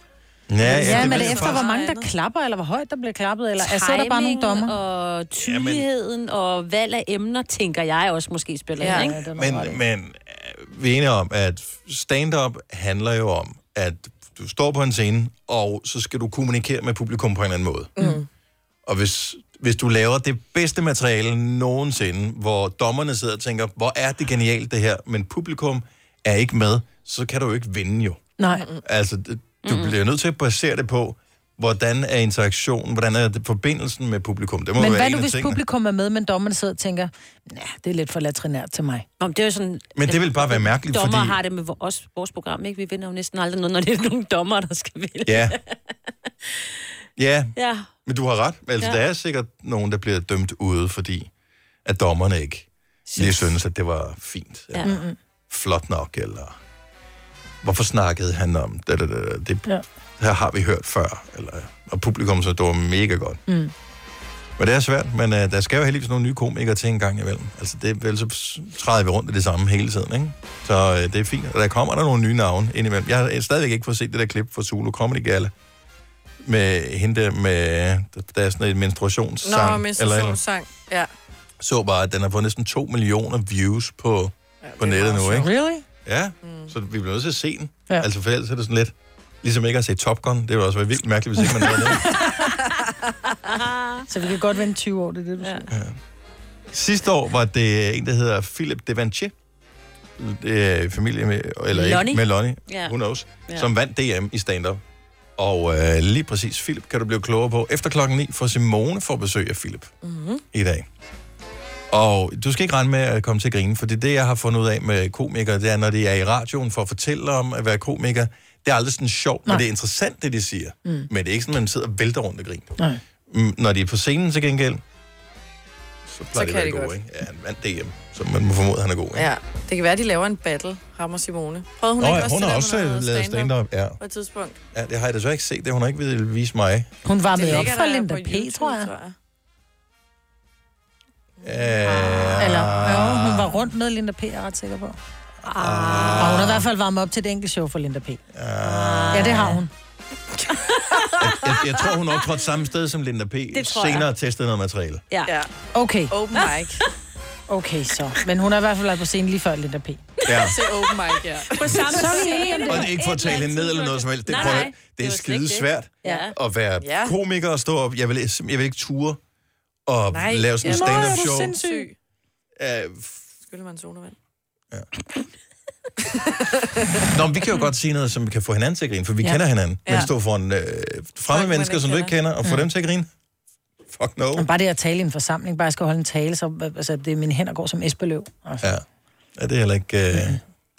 Ja,
Ja,
det
ja men
vil
det er
jeg
efter,
faktisk-
hvor mange der klapper, eller hvor højt der bliver klappet, eller altså, så er der bare nogle
Timing
dommer.
og tydeligheden og valg af emner, tænker jeg også måske spiller
Ja.
ja. ind,
Ja, det
ikke?
Men, men øh, vi er enige om, at stand-up handler jo om, at du står på en scene, og så skal du kommunikere med publikum på en anden måde. Mm. Og hvis, hvis du laver det bedste materiale nogensinde, hvor dommerne sidder og tænker, hvor er det genialt det her, men publikum er ikke med, så kan du jo ikke vinde jo.
Nej.
Altså, det- du mm. bliver nødt til at basere det på, hvordan er interaktionen, hvordan er det, forbindelsen med publikum. Det må
Men
være
hvad
en
nu,
af
hvis
tingene.
publikum er med, men dommerne sidder og tænker, nej, det er lidt for latrinært til mig.
Om det er jo sådan,
Men det vil bare være mærkeligt,
dommer
fordi...
har det med vo- os, vores program, ikke? Vi vinder jo næsten aldrig noget, når det er nogle dommer, der skal vinde.
[laughs]
Ja. Ja,
ja.
Men du har ret. Altså, ja.
Ja.
der er sikkert nogen, der bliver dømt ude, fordi at dommerne ikke lige synes, at det var fint.
Ja.
Eller flot nok, eller hvorfor snakkede han om det, det, det, det
Ja.
her har vi hørt før. Eller, og publikum så, det var mega godt.
Mm.
Men det er svært, men uh, der skal jo heldigvis nogle nye komikere til en gang imellem. Altså, det, vel, så træder vi rundt i det samme hele tiden, ikke? Så uh, det er fint. Og der kommer der nogle nye navne indimellem. Jeg har stadigvæk ikke fået set det der klip fra Zulu Comedy Gala med hende der med, der er sådan et menstruationssang.
Nå,
eller,
menstruationssang. Ja.
så bare, at den har fået næsten 2 millioner views på, ja, på nettet nu, ikke?
Really?
Ja, mm. så vi bliver nødt til at se den.
Ja.
Ja. Altså for ellers er det sådan lidt, ligesom ikke at se Top Gun, det ville også være vildt mærkeligt, hvis ikke man havde det.
Så vi kan godt vente 20 år, det er det, du siger. Ja.
Sidste år var det en, der hedder Philip Devanché, det er familie med, eller
Lonnie.
ikke, med Lonnie,
Ja.
yeah. who knows,
Ja.
yeah. som vandt DM i stand-up. Og øh, lige præcis Philip kan du blive klogere på efter klokken 9, for Simone får besøg af Philip.
Mhm.
Mm-hmm.
i dag. Og du skal ikke regne med at komme til at grine, for det er det, jeg har fundet ud af med komikere, det er, når de er i radioen for at fortælle om at være komiker. Det er aldrig sådan sjovt, men
Nej.
det er interessant, det de siger. Mm. Men det er ikke sådan, at man sidder og vælter rundt og griner.
Nej.
Mm, Når de er på scenen til gengæld, så
Så
plejer
kan
så det at
det
være gode,
godt.
ikke? Ja, han vandt DM, så man må formode, at han er god, ikke?
ja. Det kan være, de laver en battle, ham og Simone. Prøvede hun
Nå,
ikke
ja,
også
hun
det der
har også øh,
med noget
lavet stand-up, ja.
På et tidspunkt.
Ja, det har jeg desværre ikke set, det hun har ikke ville vise mig.
Hun var med op
ligger
for
der
Linda
på
P,
YouTube,
tror jeg.
Øh, Ja.
Eller, jo, hun var rundt med Linda P, jeg er ret sikker på. Ah. Og hun har i hvert fald varmet op til et enkelt show for Linda P. Ah. Ja, det har hun.
Jeg, jeg tror, hun optrådte samme sted som Linda P.
Det tror jeg.
Senere testede noget materiale.
Ja.
ja.
Okay.
Open
[laughs]
mic.
Okay, så. Men hun har i hvert fald været på scenen lige før Linda P.
Ja.
Til open mic, ja.
På samme
Så er vi enige om
scene.
det.
Og det er ikke for at tale hende ned eller noget som helst. Det,
Nej,
prøv, at-
nej.
det er
Det var slet ikke
skide
det.
svært
Ja.
at være
Ja.
komiker og stå op. Jeg vil, sim- jeg vil ikke ture og
Nej.
lave sådan en
Nå, er du
stand-up show.
sindssyg?
Uh,
Skylder man sodavand.
Nå, men vi kan jo godt sige noget, som vi kan få hinanden til at grine, for vi
Ja.
kender hinanden.
Ja.
Men stå foran øh, fremmede mennesker, som du ikke kender, og få
Mm.
dem til at grine. Fuck no.
Men bare det at tale i en forsamling, bare jeg skal holde en tale, så altså, det er mine hænder går som Esbeløv. Altså.
Ja. ja, det er heller ikke...
Mhm.
Øh, det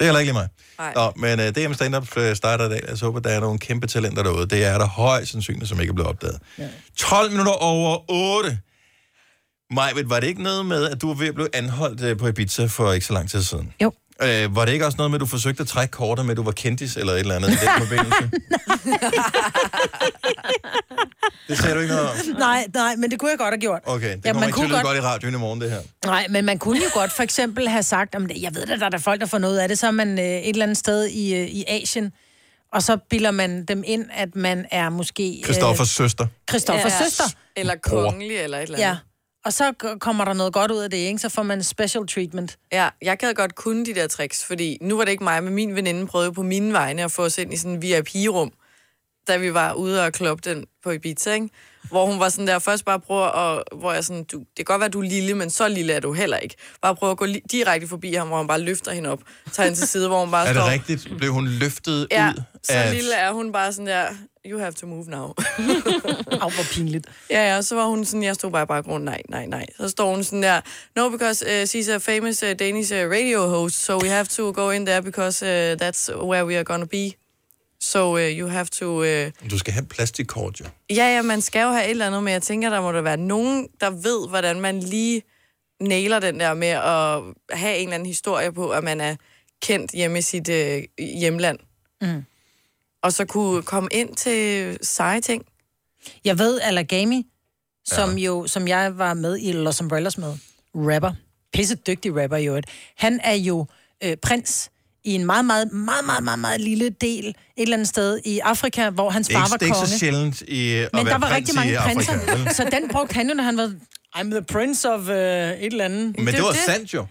er heller ikke lige mig. Nå, men øh, DM Stand-Up øh, starter i dag. Jeg håber, der er nogle kæmpe talenter derude. Det er der højst sandsynligt, som ikke er blevet opdaget. Ja. 12 minutter over 8. Majbet, var det ikke noget med, at du var ved at blive anholdt øh, på Ibiza for ikke så lang tid siden?
Jo.
Øh, var det ikke også noget med, at du forsøgte at trække kortet med, at du var kendis eller et eller andet? i
[laughs]
den forbindelse? det sagde du ikke noget om.
Nej, nej, men det kunne jeg godt have gjort.
Okay, det
Ja,
kommer
man
ikke
kunne
til godt...
godt-
godt i radioen i morgen, det her.
Nej, men man kunne jo godt for eksempel have sagt, om det, jeg ved da, der er der folk, der får noget af det, så er man øh, et eller andet sted i, øh, i Asien, og så bilder man dem ind, at man er måske... øh,
Christoffers søster.
Christoffers
Ja.
ja. søster.
Eller
Bror.
kongelig, eller et eller andet.
Ja, og så g- kommer der noget godt ud af det, ikke? Så får man special treatment.
Ja, jeg gad godt kunne de der tricks, fordi nu var det ikke mig, men min veninde prøvede på mine vegne at få os ind i sådan en VIP-rum, da vi var ude og kloppe den på Ibiza, ikke? Hvor hun var sådan der, først bare prøver at, hvor jeg sådan, du, det kan godt være, du er lille, men så lille er du heller ikke. Bare prøve at gå li- direkte forbi ham, hvor han bare løfter hende op, tager hende til side, hvor hun bare
Er
står.
det rigtigt? Blev hun løftet
Ja,
ud
så
af...
lille er hun bare sådan der, you have to move now.
[laughs] Au, hvor pinligt.
Ja, ja, så var hun sådan, jeg stod bare i baggrunden, nej, nej, nej. Så står hun sådan der, no, because uh, she's a famous uh, Danish uh, radio host, so we have to go in there, because uh, that's where we are gonna be. So uh, you have to... Uh...
Du skal have plastikkort, jo.
Ja, ja, man skal jo have et eller andet, men jeg tænker, der må der være nogen, der ved, hvordan man lige nailer den der med at have en eller anden historie på, at man er kendt hjemme i sit øh, hjemland.
Mm.
Og så kunne komme ind til seje ting.
Jeg ved Alagami, som ja. jo, som jeg var med i Los Umbrellas med, rapper, pisse dygtig rapper i øvrigt, han er jo øh, prins i en meget, meget, meget, meget, meget, meget lille del et eller andet sted i Afrika, hvor hans
Det er
far
ikke,
var
det er ikke
konge.
så sjældent i, at
Men
være
der var
prins
rigtig
i
mange
Afrika,
prinser, [laughs]
vel?
så den brugte han jo, når han var, I'm the prince of uh, et eller andet.
Men det var sandt jo.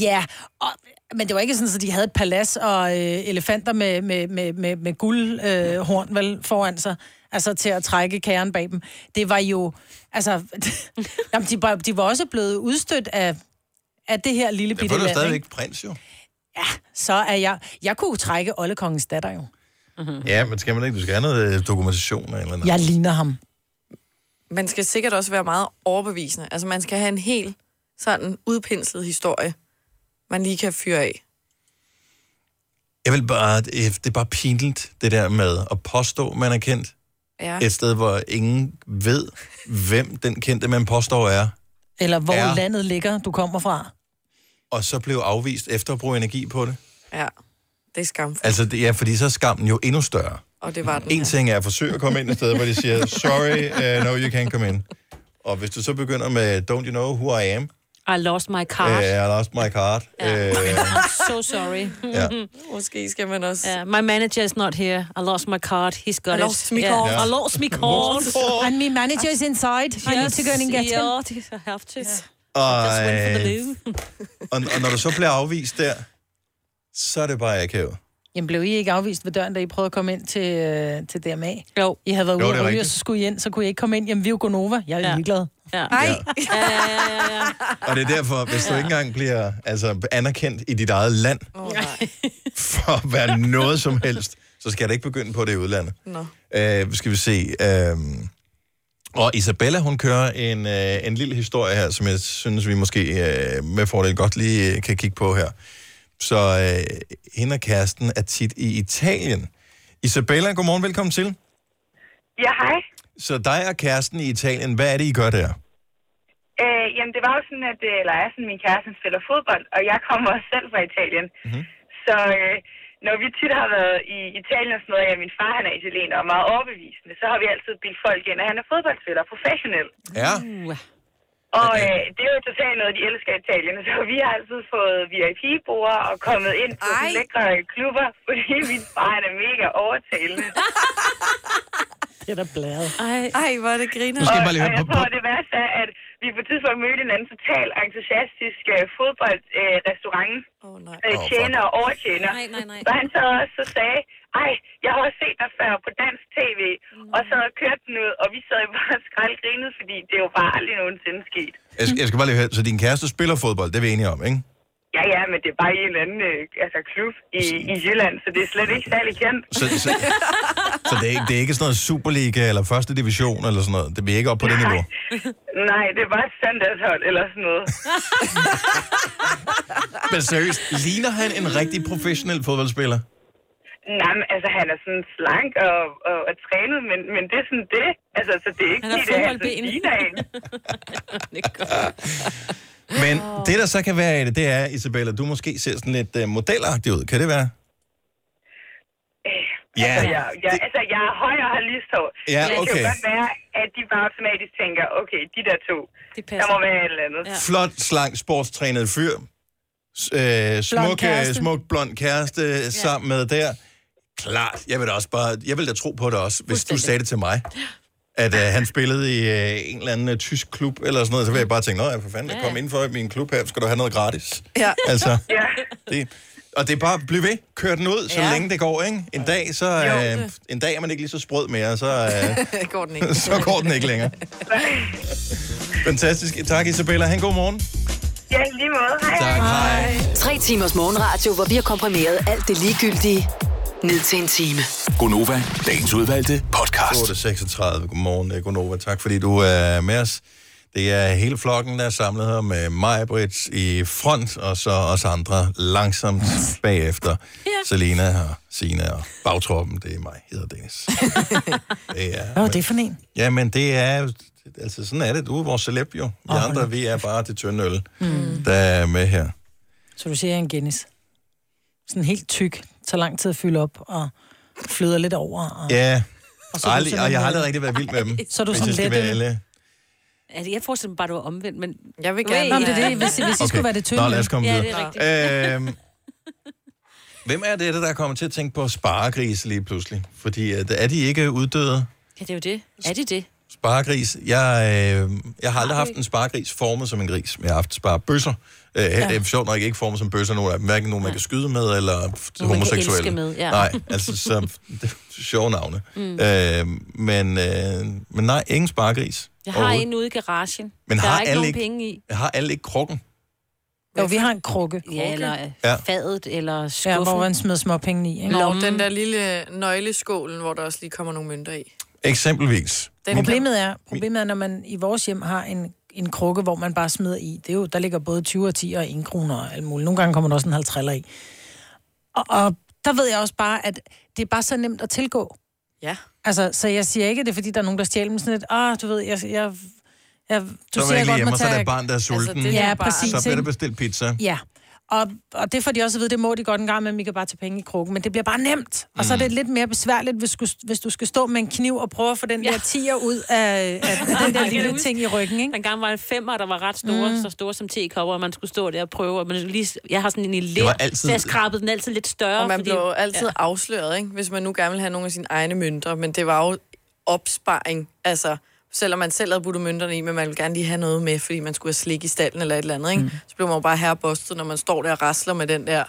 Ja, og, men det var ikke sådan, at de havde et palads og øh, elefanter med, med, med, med, med guldhorn øh, horn, vel, foran sig, altså til at trække kæren bag dem. Det var jo, altså, [laughs] jamen, de, var, de var også blevet udstødt af, af det her lille
Jeg
bitte
føler
land.
stadigvæk
ikke? Mm.
prins, jo.
Så er jeg, jeg kunne jo trække oldekongens datter jo.
Ja, men skal man ikke? Du skal have noget øh, dokumentation eller et eller andet.
Jeg ligner ham.
man skal sikkert også være meget overbevisende. Altså, man skal have en helt sådan udpenslet historie, man lige kan fyre af.
Jeg vil bare, det er bare pinligt, det der med at påstå, man er kendt.
Ja.
Et sted, hvor ingen ved, hvem den kendte, man påstår er,
Eller hvor
Ja.
ja. landet ligger, du kommer fra.
og så blev afvist efter at bruge energi på det.
Ja, det er skamfuldt,
Altså, det, ja, fordi så er skammen jo endnu større.
og det var den.
En ting er at forsøge at komme ind et sted, hvor de siger, sorry, uh, no, you can't come in. Og hvis du så begynder med, don't you know who I am?
I lost my
Uh,
card.
I lost my card.
[laughs]
Ja. Uh,
I'm so
[laughs]
sorry.
Ja.
Måske skal man også...
Yeah, my manager is not here. I lost my card. He's got
I
it.
lost my card.
Yeah. I lost my card.
And my manager is inside. I need to go and get him.
Yeah, I have to.
og,
Just went for the
øh,
loo.
og, og når du så bliver afvist der, så er det bare akavet.
Jamen blev I ikke afvist ved døren, da I prøvede at komme ind til, øh, til DMA?
Jo.
I havde været
Jo,
ude og ryge,
det er
og
rigtigt.
så skulle I ind, så kunne I ikke komme ind. Jamen vi er jo Gonova. Jeg er ja. ligeglad.
Ja.
Ej.
Og det er derfor, hvis du ikke engang bliver altså, anerkendt i dit eget land,
Oh, nej.
for at være noget som helst, så skal jeg da ikke begynde på det i udlandet.
Nå.
Øh, skal vi se. Øh, og Isabella, hun kører en, øh, en lille historie her, som jeg synes, vi måske øh, med fordel godt lige øh, kan kigge på her. Så øh, hende og kæresten er tit i Italien. Isabella, godmorgen, velkommen til.
Ja, hej.
Så dig og kæresten i Italien, hvad er det, I gør der?
Øh, jamen, det var jo sådan, at øh, eller jeg er sådan, min kæreste han spiller fodbold, og jeg kommer også selv fra Italien.
Mhm.
Mm-hmm. Så øh, når vi tit har været i Italien og sådan noget, ja, min far han er italiener og meget overbevisende, så har vi altid bildt folk ind, at han er fodboldspiller, professionel.
Ja.
Mm. Og øh, det er jo totalt noget, de elsker i Italien, så vi har altid fået VIP-bord og kommet ind på sådan lækre klubber, [laughs] fordi min far han er mega overtalende.
Det er da blæret.
Ej.
Ej, hvor er det griner.
Og, og jeg tror, det værste er, at vi på et tidspunkt mødte en anden totalt entusiastisk øh, fodboldrestaurant.
Øh, oh,
øh, tjener og overtjener.
Nej, nej,
[laughs]
nej. [laughs]
Så han så også så sagde, ej, jeg har også set dig før på dansk tv, mm. og så kørte den ud, og vi sad jo bare og skraldgrinede, fordi det er jo bare aldrig nogensinde sket.
Jeg, jeg skal bare lige høre, så din kæreste spiller fodbold, det er vi enige om, ikke?
Ja, ja, men det er bare i en eller anden øh, altså, klub i, i Jylland, så det er slet ikke særlig kendt.
Så,
[laughs]
så, så det, er ikke, det er ikke sådan noget Superliga eller første division eller sådan noget. Det bliver ikke op på det niveau.
Nej, det er bare et standardshold eller sådan noget.
Men seriøst, ligner han en rigtig professionel fodboldspiller?
Nej, men altså, han er sådan slank og, og, og trænet, men, men det er sådan det. Altså, så det er ikke
Han har [laughs]
fordi, det, er, han sådan
fodboldben.
ligner en.
Men det, der så kan være i det, det er, Isabella, du måske ser sådan lidt uh, modelagtig ud. Kan det være? Ja.
Altså, jeg, jeg, altså, jeg er høj og har lyshår.
Ja,
Men det kan
okay.
jo godt være, at de bare automatisk tænker, okay, de der to, der må være et eller andet.
Flot, slank, sportstrænet fyr. S- øh, smuk, øh,
kæreste.
smuk, blond kæreste ja. sammen med der. Klart, jeg vil da også bare, jeg vil da tro på det også, hvis du sagde det til mig. At øh, han spillede i øh, en eller anden øh, tysk klub eller sådan noget, så vil jeg bare tænke, nej, for fanden, jeg kom ind for min klub her, skal du have noget gratis.
Ja.
Altså,
ja.
det, og det er bare, bliv ved, kør den ud, så
Ja.
ja. længe det går, ikke? En dag, så, øh, en dag er man ikke lige så sprød mere, så, øh, [laughs]
[laughs] går den ikke.
så går den ikke [laughs] længere. Fantastisk. Tak, Isabella. Han god morgen.
Ja, i lige måde. Hej.
Tak. Hej.
Tre timers morgenradio, hvor vi har komprimeret alt det ligegyldige ned til en time.
Gonova, dagens udvalgte podcast. 8.36. Godmorgen, øh, Gonova. Tak, fordi du er med os. Det er hele flokken, der er samlet her med mig, Brits i front, og så os andre langsomt bagefter. Ja. Selena og Sina og bagtroppen, det er mig, hedder [laughs] Dennis. det er
Hvad var det for en?
Ja, men det er... Altså, sådan er det. Du er vores celeb, jo. Vi oh, andre, vi er bare det tynde øl, mm. der er med her.
Så du siger, jeg er en Guinness. Sådan helt tyk. Tager lang tid at fylde op og flyder lidt over. Og...
Ja.
Og
Og,
så er du
aldrig, og
simpelthen
jeg
med.
har aldrig rigtig været vild
[laughs]
med dem.
Så er du
hvis
sådan øh,
jeg skal
let,
være
eller?
ærlig.
Altså, jeg forestiller mig bare, at du var omvendt, men...
Jeg vil
gerne- Nå, men det er det, hvis- hvis I
Okay. Nå, lad os komme
ja, det er
videre.
rigtigt.
øhm, hvem er det, der kommer til at tænke på sparegris lige pludselig? Fordi øh, er de ikke uddøde?
Ja, det er jo det. Er det det?
Sparegris. Jeg, øh, jeg har aldrig haft en sparegris formet som en gris, men jeg har haft sparebøsser. Øh, ja. Det er sjovt nok ikke formet som bøsser, nogen af dem. Hverken nogen, man kan skyde med, eller f-
Nogen, man kan elske
homoseksuelle.
med, ja.
Nej, altså, så, det er sjove navne.
Mm.
Mm. Øh, men, øh, men nej, ingen sparegris.
Jeg har en ude i garagen.
Men
der
har
er ikke
alle
nogen
ikke-
penge i.
Jeg har alle ikke krukken.
Jo, vi har en krukke.
Ja, eller
Ja.
fadet, eller skuffen.
Ja, hvor man smed småpenge i. Ikke?
Nå, den der lille nøgleskålen, hvor der også lige kommer nogle mønter i.
Eksempelvis.
Den problemet, er, problemet er, når man i vores hjem har en, en krukke, hvor man bare smider i. Det er jo, der ligger både 20 og 10 og 1 kroner og alt muligt. Nogle gange kommer der også en 50 i. Og, og der ved jeg også bare, at det er bare så nemt at tilgå.
Ja.
Altså, så jeg siger ikke, at det er, fordi der er nogen, der stjæler dem sådan lidt. Ah, du ved, jeg... jeg, jeg
Du så er man ikke hjemme, og så er der et barn, der er sulten.
Altså, det ja, præcis.
Så bliver der
ikke?
bestilt pizza.
Ja. Og, og det får de også at vide, det må de godt en gang, men vi kan bare tage penge i krukken. Men det bliver bare nemt. Og så er
Mm.
det lidt mere besværligt, hvis, du- hvis du skal stå med en kniv og prøve at få den ja. der tiger ud af, af den der lille ting i ryggen, ikke?
Den gang var en femmer, der var ret store, mm. så store som tekopper, og man skulle stå der og prøve. Og man lige, jeg har sådan en lille,
Det var
altid...
altid-
så jeg skrabede den altid lidt større.
Og man
fordi-
blev altid
Ja.
afsløret, ikke? hvis man nu gerne ville have nogle af sine egne mønter, men det var jo opsparing, altså selvom man selv havde puttet mønterne i, men man ville gerne lige have noget med, fordi man skulle have slik i stallen eller et eller andet, ikke? Mm. så blev man jo bare herrebostet, når man står der og rasler med den der.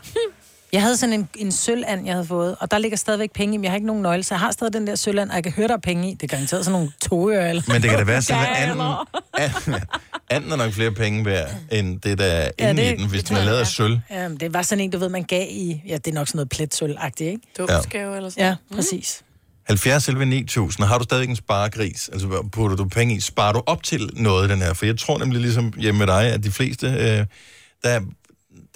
Jeg havde sådan en, en sølvand, jeg havde fået, og der ligger stadigvæk penge i, men jeg har ikke nogen nøgle, så jeg har stadig den der sølvand, og jeg kan høre, der er penge i. Det er garanteret sådan nogle togeører. eller-
Men det kan da være sådan, at anden, anden, anden er nok flere penge værd, end det, der er
Ja,
inde
det-
i den, hvis
det
den er
tror
lavet
jeg,
af sølv.
Ja, men Øhm, det var sådan en, du ved, man gav i... Ja, det er nok sådan noget pletsølv-agtigt, ikke? Mm.
Dåbsgave
eller
sådan Ja, præcis.
70 selv 9000. Har du stadig en sparegris? Altså, hvad putter du penge i? Sparer du op til noget, den her? For jeg tror nemlig, ligesom hjemme med dig, at de fleste, øh, der, der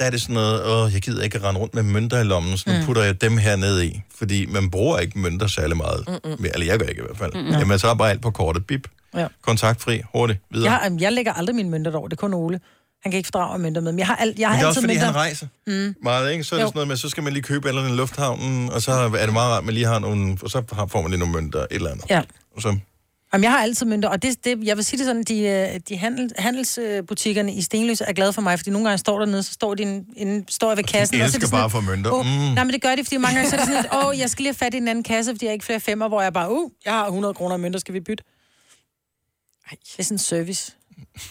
er det sådan noget, åh, jeg gider ikke at rende rundt med mønter i lommen, så nu
Mm.
putter jeg dem her ned i. Fordi man bruger ikke mønter særlig meget.
Mm-mm.
Mere, eller jeg gør ikke i hvert fald.
Mm-mm.
Mm-mm. Jamen, så er bare alt på kortet. Bip.
Ja.
Kontaktfri. Hurtigt. Videre.
Jeg, har- jeg lægger aldrig mine mønter over. Det er kun Ole. Han kan ikke fordrage mønter med. Men jeg har, al, jeg
Men
har
det
altid
er også, fordi
mønter.
han rejser.
Mm.
Meget, ikke? Så er det
Jo.
sådan noget med, så skal man lige købe allerede i lufthavnen, og så er det meget rart, at man lige har nogle, og så har- får man lige nogle mønter, et eller andet.
Ja.
Og så,
Jamen, jeg har altid mønter, og det, det, jeg vil sige det sådan, de, øh, de handel, handelsbutikkerne i Stenløse er glade for mig, fordi nogle gange står der nede, så står, de en, en, står jeg ved kassen.
de
og så er
elsker
det sådan
bare
et,
for mønter.
Åh,
Mm.
Nej, men det gør det, fordi mange gange så er det sådan, at åh, jeg skal lige have fat i en anden kasse, fordi jeg har ikke flere femmer, hvor jeg bare, uh, jeg har 100 kroner i mønter, skal vi bytte? Ej. Det er sådan en service,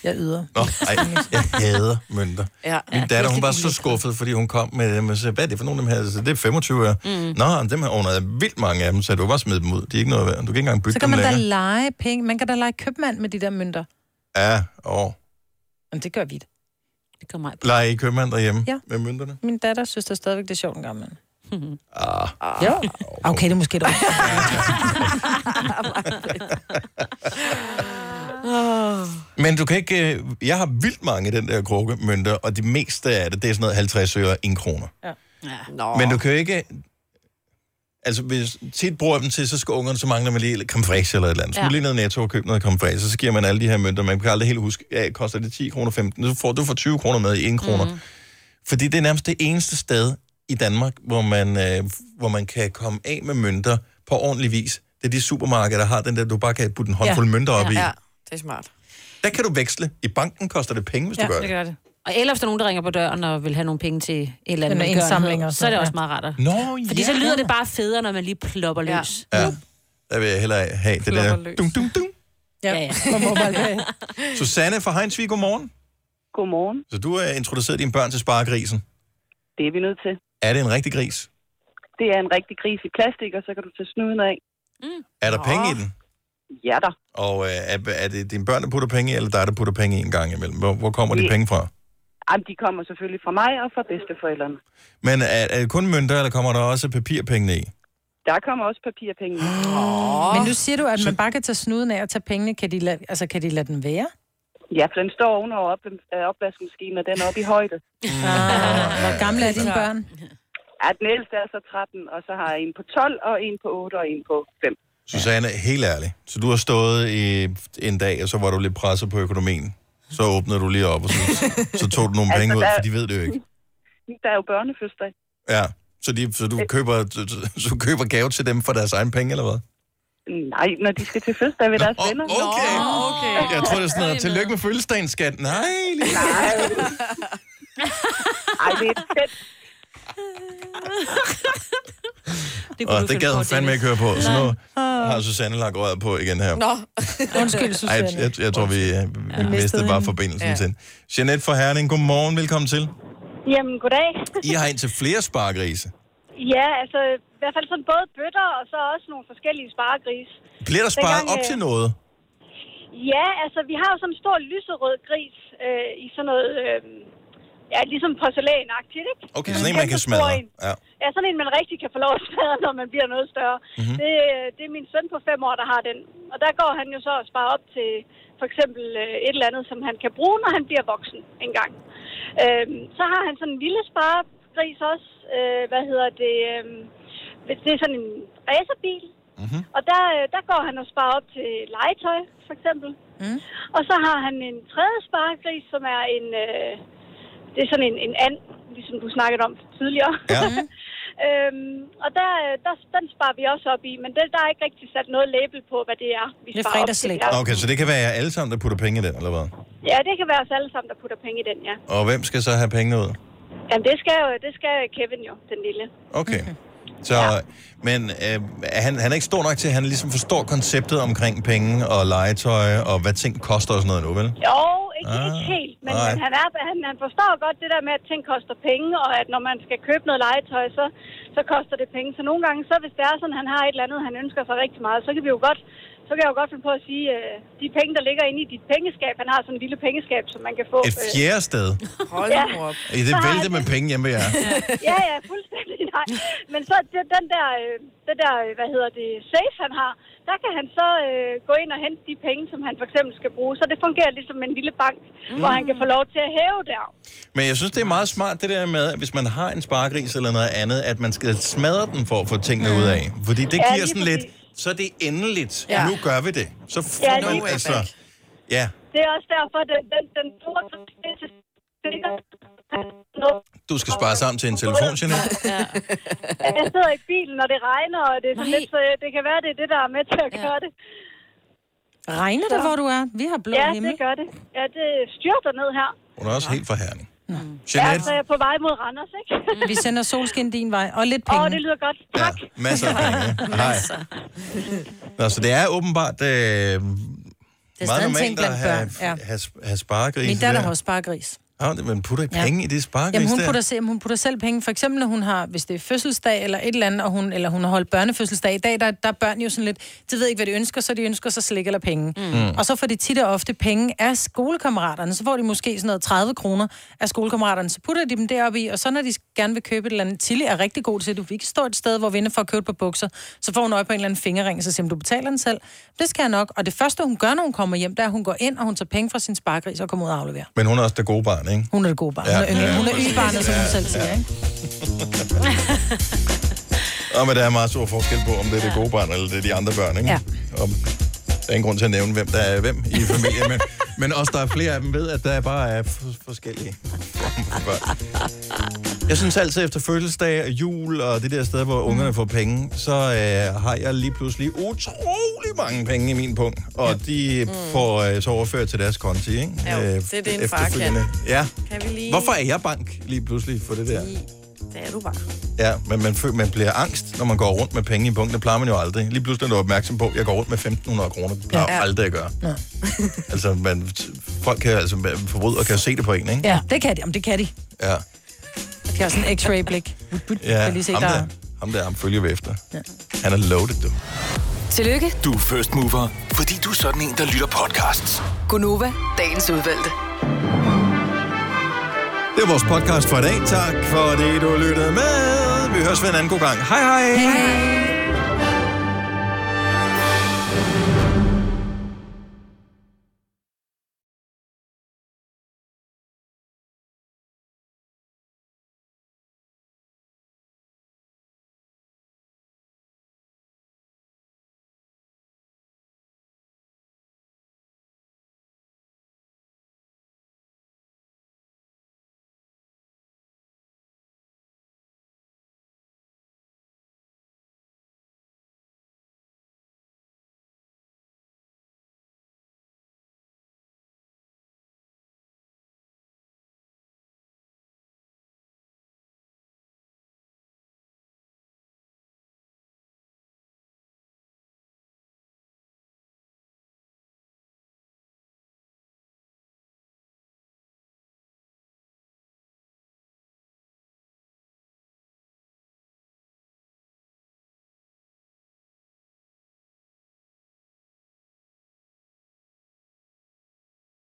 jeg yder.
Nå, ej, jeg hader mønter.
Ja.
Min datter, hun var så skuffet, fordi hun kom med dem, og sagde, hvad er det for nogle af dem her? Så det er 25 øre.
Mm.
Mm. Nå, men dem her under vildt mange af dem, så du kan bare smide dem ud. De er ikke noget værd. Du kan ikke engang bytte
Så kan man
dem
da
længere.
lege penge. Man kan da lege købmand med de der mønter.
Ja, og
Men det gør vi da. Det gør mig.
leger I købmand derhjemme
Ja.
ja. med mønterne?
Min datter synes da stadigvæk, det er sjovt en gammel. mand.
Ah.
Jo. Okay, det er måske et
Åh.
Men du kan ikke... øh, Jeg har vildt mange af den der krukke mønter, og det meste af det, det er sådan noget 50 øre, 1 kroner.
Ja.
Ja.
Men du kan jo ikke... Altså, hvis tit bruger jeg dem til, så skal ungerne, så mangler man lige komfræs eller et eller andet. Så
Ja.
ja. lige ned i netto og købe noget komfræs, og så giver man alle de her mønter. Man kan aldrig helt huske, ja, koster det 10 kroner 15, så får du får 20 kroner med i 1 kroner.
Mhm.
Mm. Fordi det er nærmest det eneste sted i Danmark, hvor man, øh, hvor man kan komme af med mønter på ordentlig vis. Det er de supermarkeder, der har den der, du bare kan putte en håndfuld ja. mønter op
ja,
i.
Ja, det er smart.
Der kan du veksle. I banken koster det penge, hvis
ja,
du gør
det
det.
gør det. Og eller hvis der er nogen, der ringer på døren og vil have nogle penge til en eller anden
Den er
velgørenhed,
indsamling og
så er
sådan,
det også
ja.
meget rart. at-
Nå,
Fordi
ja.
så lyder det bare federe, når man lige plopper løs.
Ja. Der vil jeg hellere have det der.
Plopper løs.
Dum, dum, dum.
Ja, ja.
Susanne fra Heinsvig, godmorgen.
Godmorgen.
Så du har introduceret dine børn til sparegrisen.
Det er vi nødt til.
Er det en rigtig gris?
Det er en rigtig gris i plastik, og så kan du tage snuden af.
Er der penge i den?
Ja da.
Og øh, er, er det dine børn, der putter penge i, eller dig, der putter penge i en gang imellem? Hvor, hvor kommer de
Det-
penge fra?
Jamen, de kommer selvfølgelig fra mig og fra bedsteforældrene.
Men er, er det kun mønter, eller kommer der også papirpengene i?
Der kommer også
[gasps]
papirpenge.
Men nu siger du, at man bare kan tage snuden af og tage pengene. Kan de lade, altså, kan de lade den være?
Ja, for den står ovenover op, øh, opvaskemaskinen, og den er oppe i højde.
Ah.
Hvor gamle er dine børn?
Ja, den ældste er så 13, og så har jeg en på 12, og en på 8, og en på 5.
Susanne, helt ærligt. Så du har stået i en dag, og så var du lidt presset på økonomien. Så åbnede du lige op, og så, så tog du nogle
Altså,
penge ud,
der-
for de ved det jo ikke.
Der er jo børnefødsdag.
Ja, så, de, så du køber, så du køber gave til dem for deres egen penge, eller hvad?
Nej, når de skal til fødsdag ved deres venner.
Okay.
okay.
Jeg tror, det er sådan noget, tillykke med fødselsdagen, skat. Nej, lige.
Ej, det er fedt.
Det, og det gad hun fandme ikke høre på, så nu har Susanne lagt røret på igen her.
Nå.
Undskyld,
Ej, jeg, jeg, jeg tror, vi, øh, vi ja. mistede bare forbindelsen ja.
Ja.
til hende. Jeanette fra Herning, godmorgen, velkommen til.
Jamen, goddag.
I har indtil flere sparegrise.
Ja, altså i hvert fald sådan både bøtter og så også nogle forskellige sparegris.
Bliver der sparet
Dengang,
op
øh,
til noget?
Ja, altså vi har jo sådan en stor lyserød gris øh, i sådan noget, øh, ja, ligesom porcelænagtigt, ikke?
Okay, sådan en, man kan smadre. Ja.
Ja, sådan en, man rigtig kan få lov at smadre, når man bliver noget større. Mm-hmm. Det, øh, det er min søn på fem år, der har den. Og der går han jo så og sparer op til for eksempel øh, et eller andet, som han kan bruge, når han bliver voksen engang. Øhm, så har han sådan en lille sparegris også. Øh, hvad hedder det? Øhm, det er sådan en racerbil. Mm-hmm. Og der, øh, der går han og sparer op til legetøj, for eksempel.
Mm.
Og så har han en tredje sparegris, som er en... Øh, det er sådan en, en and, ligesom du snakkede om tidligere.
Ja.
øhm, og der, øh, der, den sparer vi også op i, men det, der er ikke rigtig sat noget label på, hvad det er, vi
Det er
sparer op til.
fredagsslik.
Ja.
Okay, så det kan være jer alle sammen, der putter penge i den, eller hvad?
ja, det kan være os alle sammen, der putter penge i den, ja.
Og hvem skal så have pengene ud?
Jamen, det skal, jo, det skal Kevin jo, den lille. [laughs]
Okay. Så, Men øh, er han, han er ikke stor nok til, at han ligesom forstår konceptet omkring penge og legetøj, og hvad ting koster og sådan noget nu, vel?
Jo, ikke,
Ah,
ikke helt, men,
nej.
men han, er, han, han forstår godt det der med, at ting koster penge, og at når man skal købe noget legetøj, så, så koster det penge. Så nogle gange, så hvis det er sådan, han har et eller andet, han ønsker sig rigtig meget, så kan vi jo godt så kan jeg jo godt finde på at sige, øh, de penge, der ligger inde i dit pengeskab, han har sådan et lille pengeskab, som man kan få.
Et fjerde sted.
Hold ja. op.
I
[laughs]
det vælte med penge hjemme ved jer.
ja, ja, fuldstændig nej. Men så det- den der, øh, det der, øh, hvad hedder det, safe, han har, der kan han så øh, gå ind og hente de penge, som han for eksempel skal bruge. Så det fungerer ligesom en lille bank, mm. hvor han kan få lov til at hæve der.
Men jeg synes, det er meget smart det der med, at hvis man har en sparegris eller noget andet, at man skal smadre den for at få tingene ud af. Fordi det
Mm. Ja,
giver
lige
sådan lidt, så er det endeligt.
Ja.
Ja. Nu gør vi det. Så får
Ja, lige
man altså...
præcis.
Ja,
Det er også derfor, den, den, den store...
du skal spare sammen til en telefon, Jeanette.
Jeg sidder i bilen, når det regner, og det er sådan lidt, så øh, det kan være, det er det, der er med til at gøre det.
Regner det, hvor du er? Vi har blå
ja,
himmel.
det gør det. Ja, det styrter ned her.
Hun er også helt for herning.
Ja,
Jeanette,
så er jeg på vej mod Randers, ikke?
Vi
[laughs]
sender solskin din vej, og lidt
Åh,
penge.
oh, det lyder godt. Tak. Ja.
masser af
[laughs]
penge. Hej. Nå, så det er åbenbart øh, meget
stadig en ting
normalt at
blandt
have,
børn, ja.
have, have sparegris.
Min datter har også sparegris.
Oh, men putter I
Ja.
penge ja. i det sparegris
Jamen, hun
der?
putter, selv, hun putter selv penge. For eksempel, når hun har, hvis det er fødselsdag eller et eller andet, og hun, eller hun har holdt børnefødselsdag i dag, der, der er børn jo sådan lidt, de ved ikke, hvad de ønsker, så de ønsker sig slik eller penge.
Mm.
Mm. Og så får de tit og ofte penge af skolekammeraterne. Så får de måske sådan noget 30 kroner af skolekammeraterne. Så putter de dem deroppe i, og så når de gerne vil købe et eller andet, Tilly er rigtig god til, at du vi kan stå et sted, hvor vi ender for at købe på bukser, så får hun øje på en eller anden fingerring, så siger hun, du betaler den selv. Det skal jeg nok. Og det første, hun gør, når hun kommer hjem, det er, at hun går ind, og hun tager penge fra sin sparkris og kommer ud og afleverer.
Men hun er også det gode barn, ikke?
Hun er det gode barn. Hun er yndling- hun er
præcis.
y-barnet, som hun
Ja,
selv siger,
ja.
ikke?
Og men der er meget stor forskel på, om det er det gode barn, eller det er de andre børn, ikke?
Ja.
Og der er ingen grund til at nævne, hvem der er hvem i
[laughs]
familien, men, men også der er flere af dem ved, at der bare er f- forskellige former for børn. Jeg synes altid, efter fødselsdag og jul og det der sted, hvor
Mm.
ungerne får penge, så øh, har jeg lige pludselig utrolig mange penge i min punkt, og de får øh, så overført til deres konti, ikke?
Mm.
Øh,
Jo, det er det, en far kan.
efterfølgende. Ja.
Kan vi lige...
Hvorfor er jeg bank lige pludselig for det der?
Det er du bare.
Ja, men man, føler, man bliver angst, når man går rundt med penge i bunken. Det plejer man jo aldrig. Lige pludselig er du opmærksom på, at jeg går rundt med 1.500 kroner. Det plejer
Ja.
ja. aldrig at gøre. [laughs] altså, man, folk kan, altså, forbrydere kan jo se det på en, ikke?
Ja, det kan de. Om det kan de.
Ja.
Det kan også en x-ray-blik.
ja.
Kan lige se,
ham,
der-
der, ham der, ham følger vi efter. Ja. Han er loaded, du.
Tillykke,
Du er first mover, fordi du er sådan en, der lytter podcasts.
Gunova, dagens udvalgte.
Det var vores podcast for i dag. Tak for det, du lyttede med. Vi høres ved en anden god gang. Hej hej! hej, hej.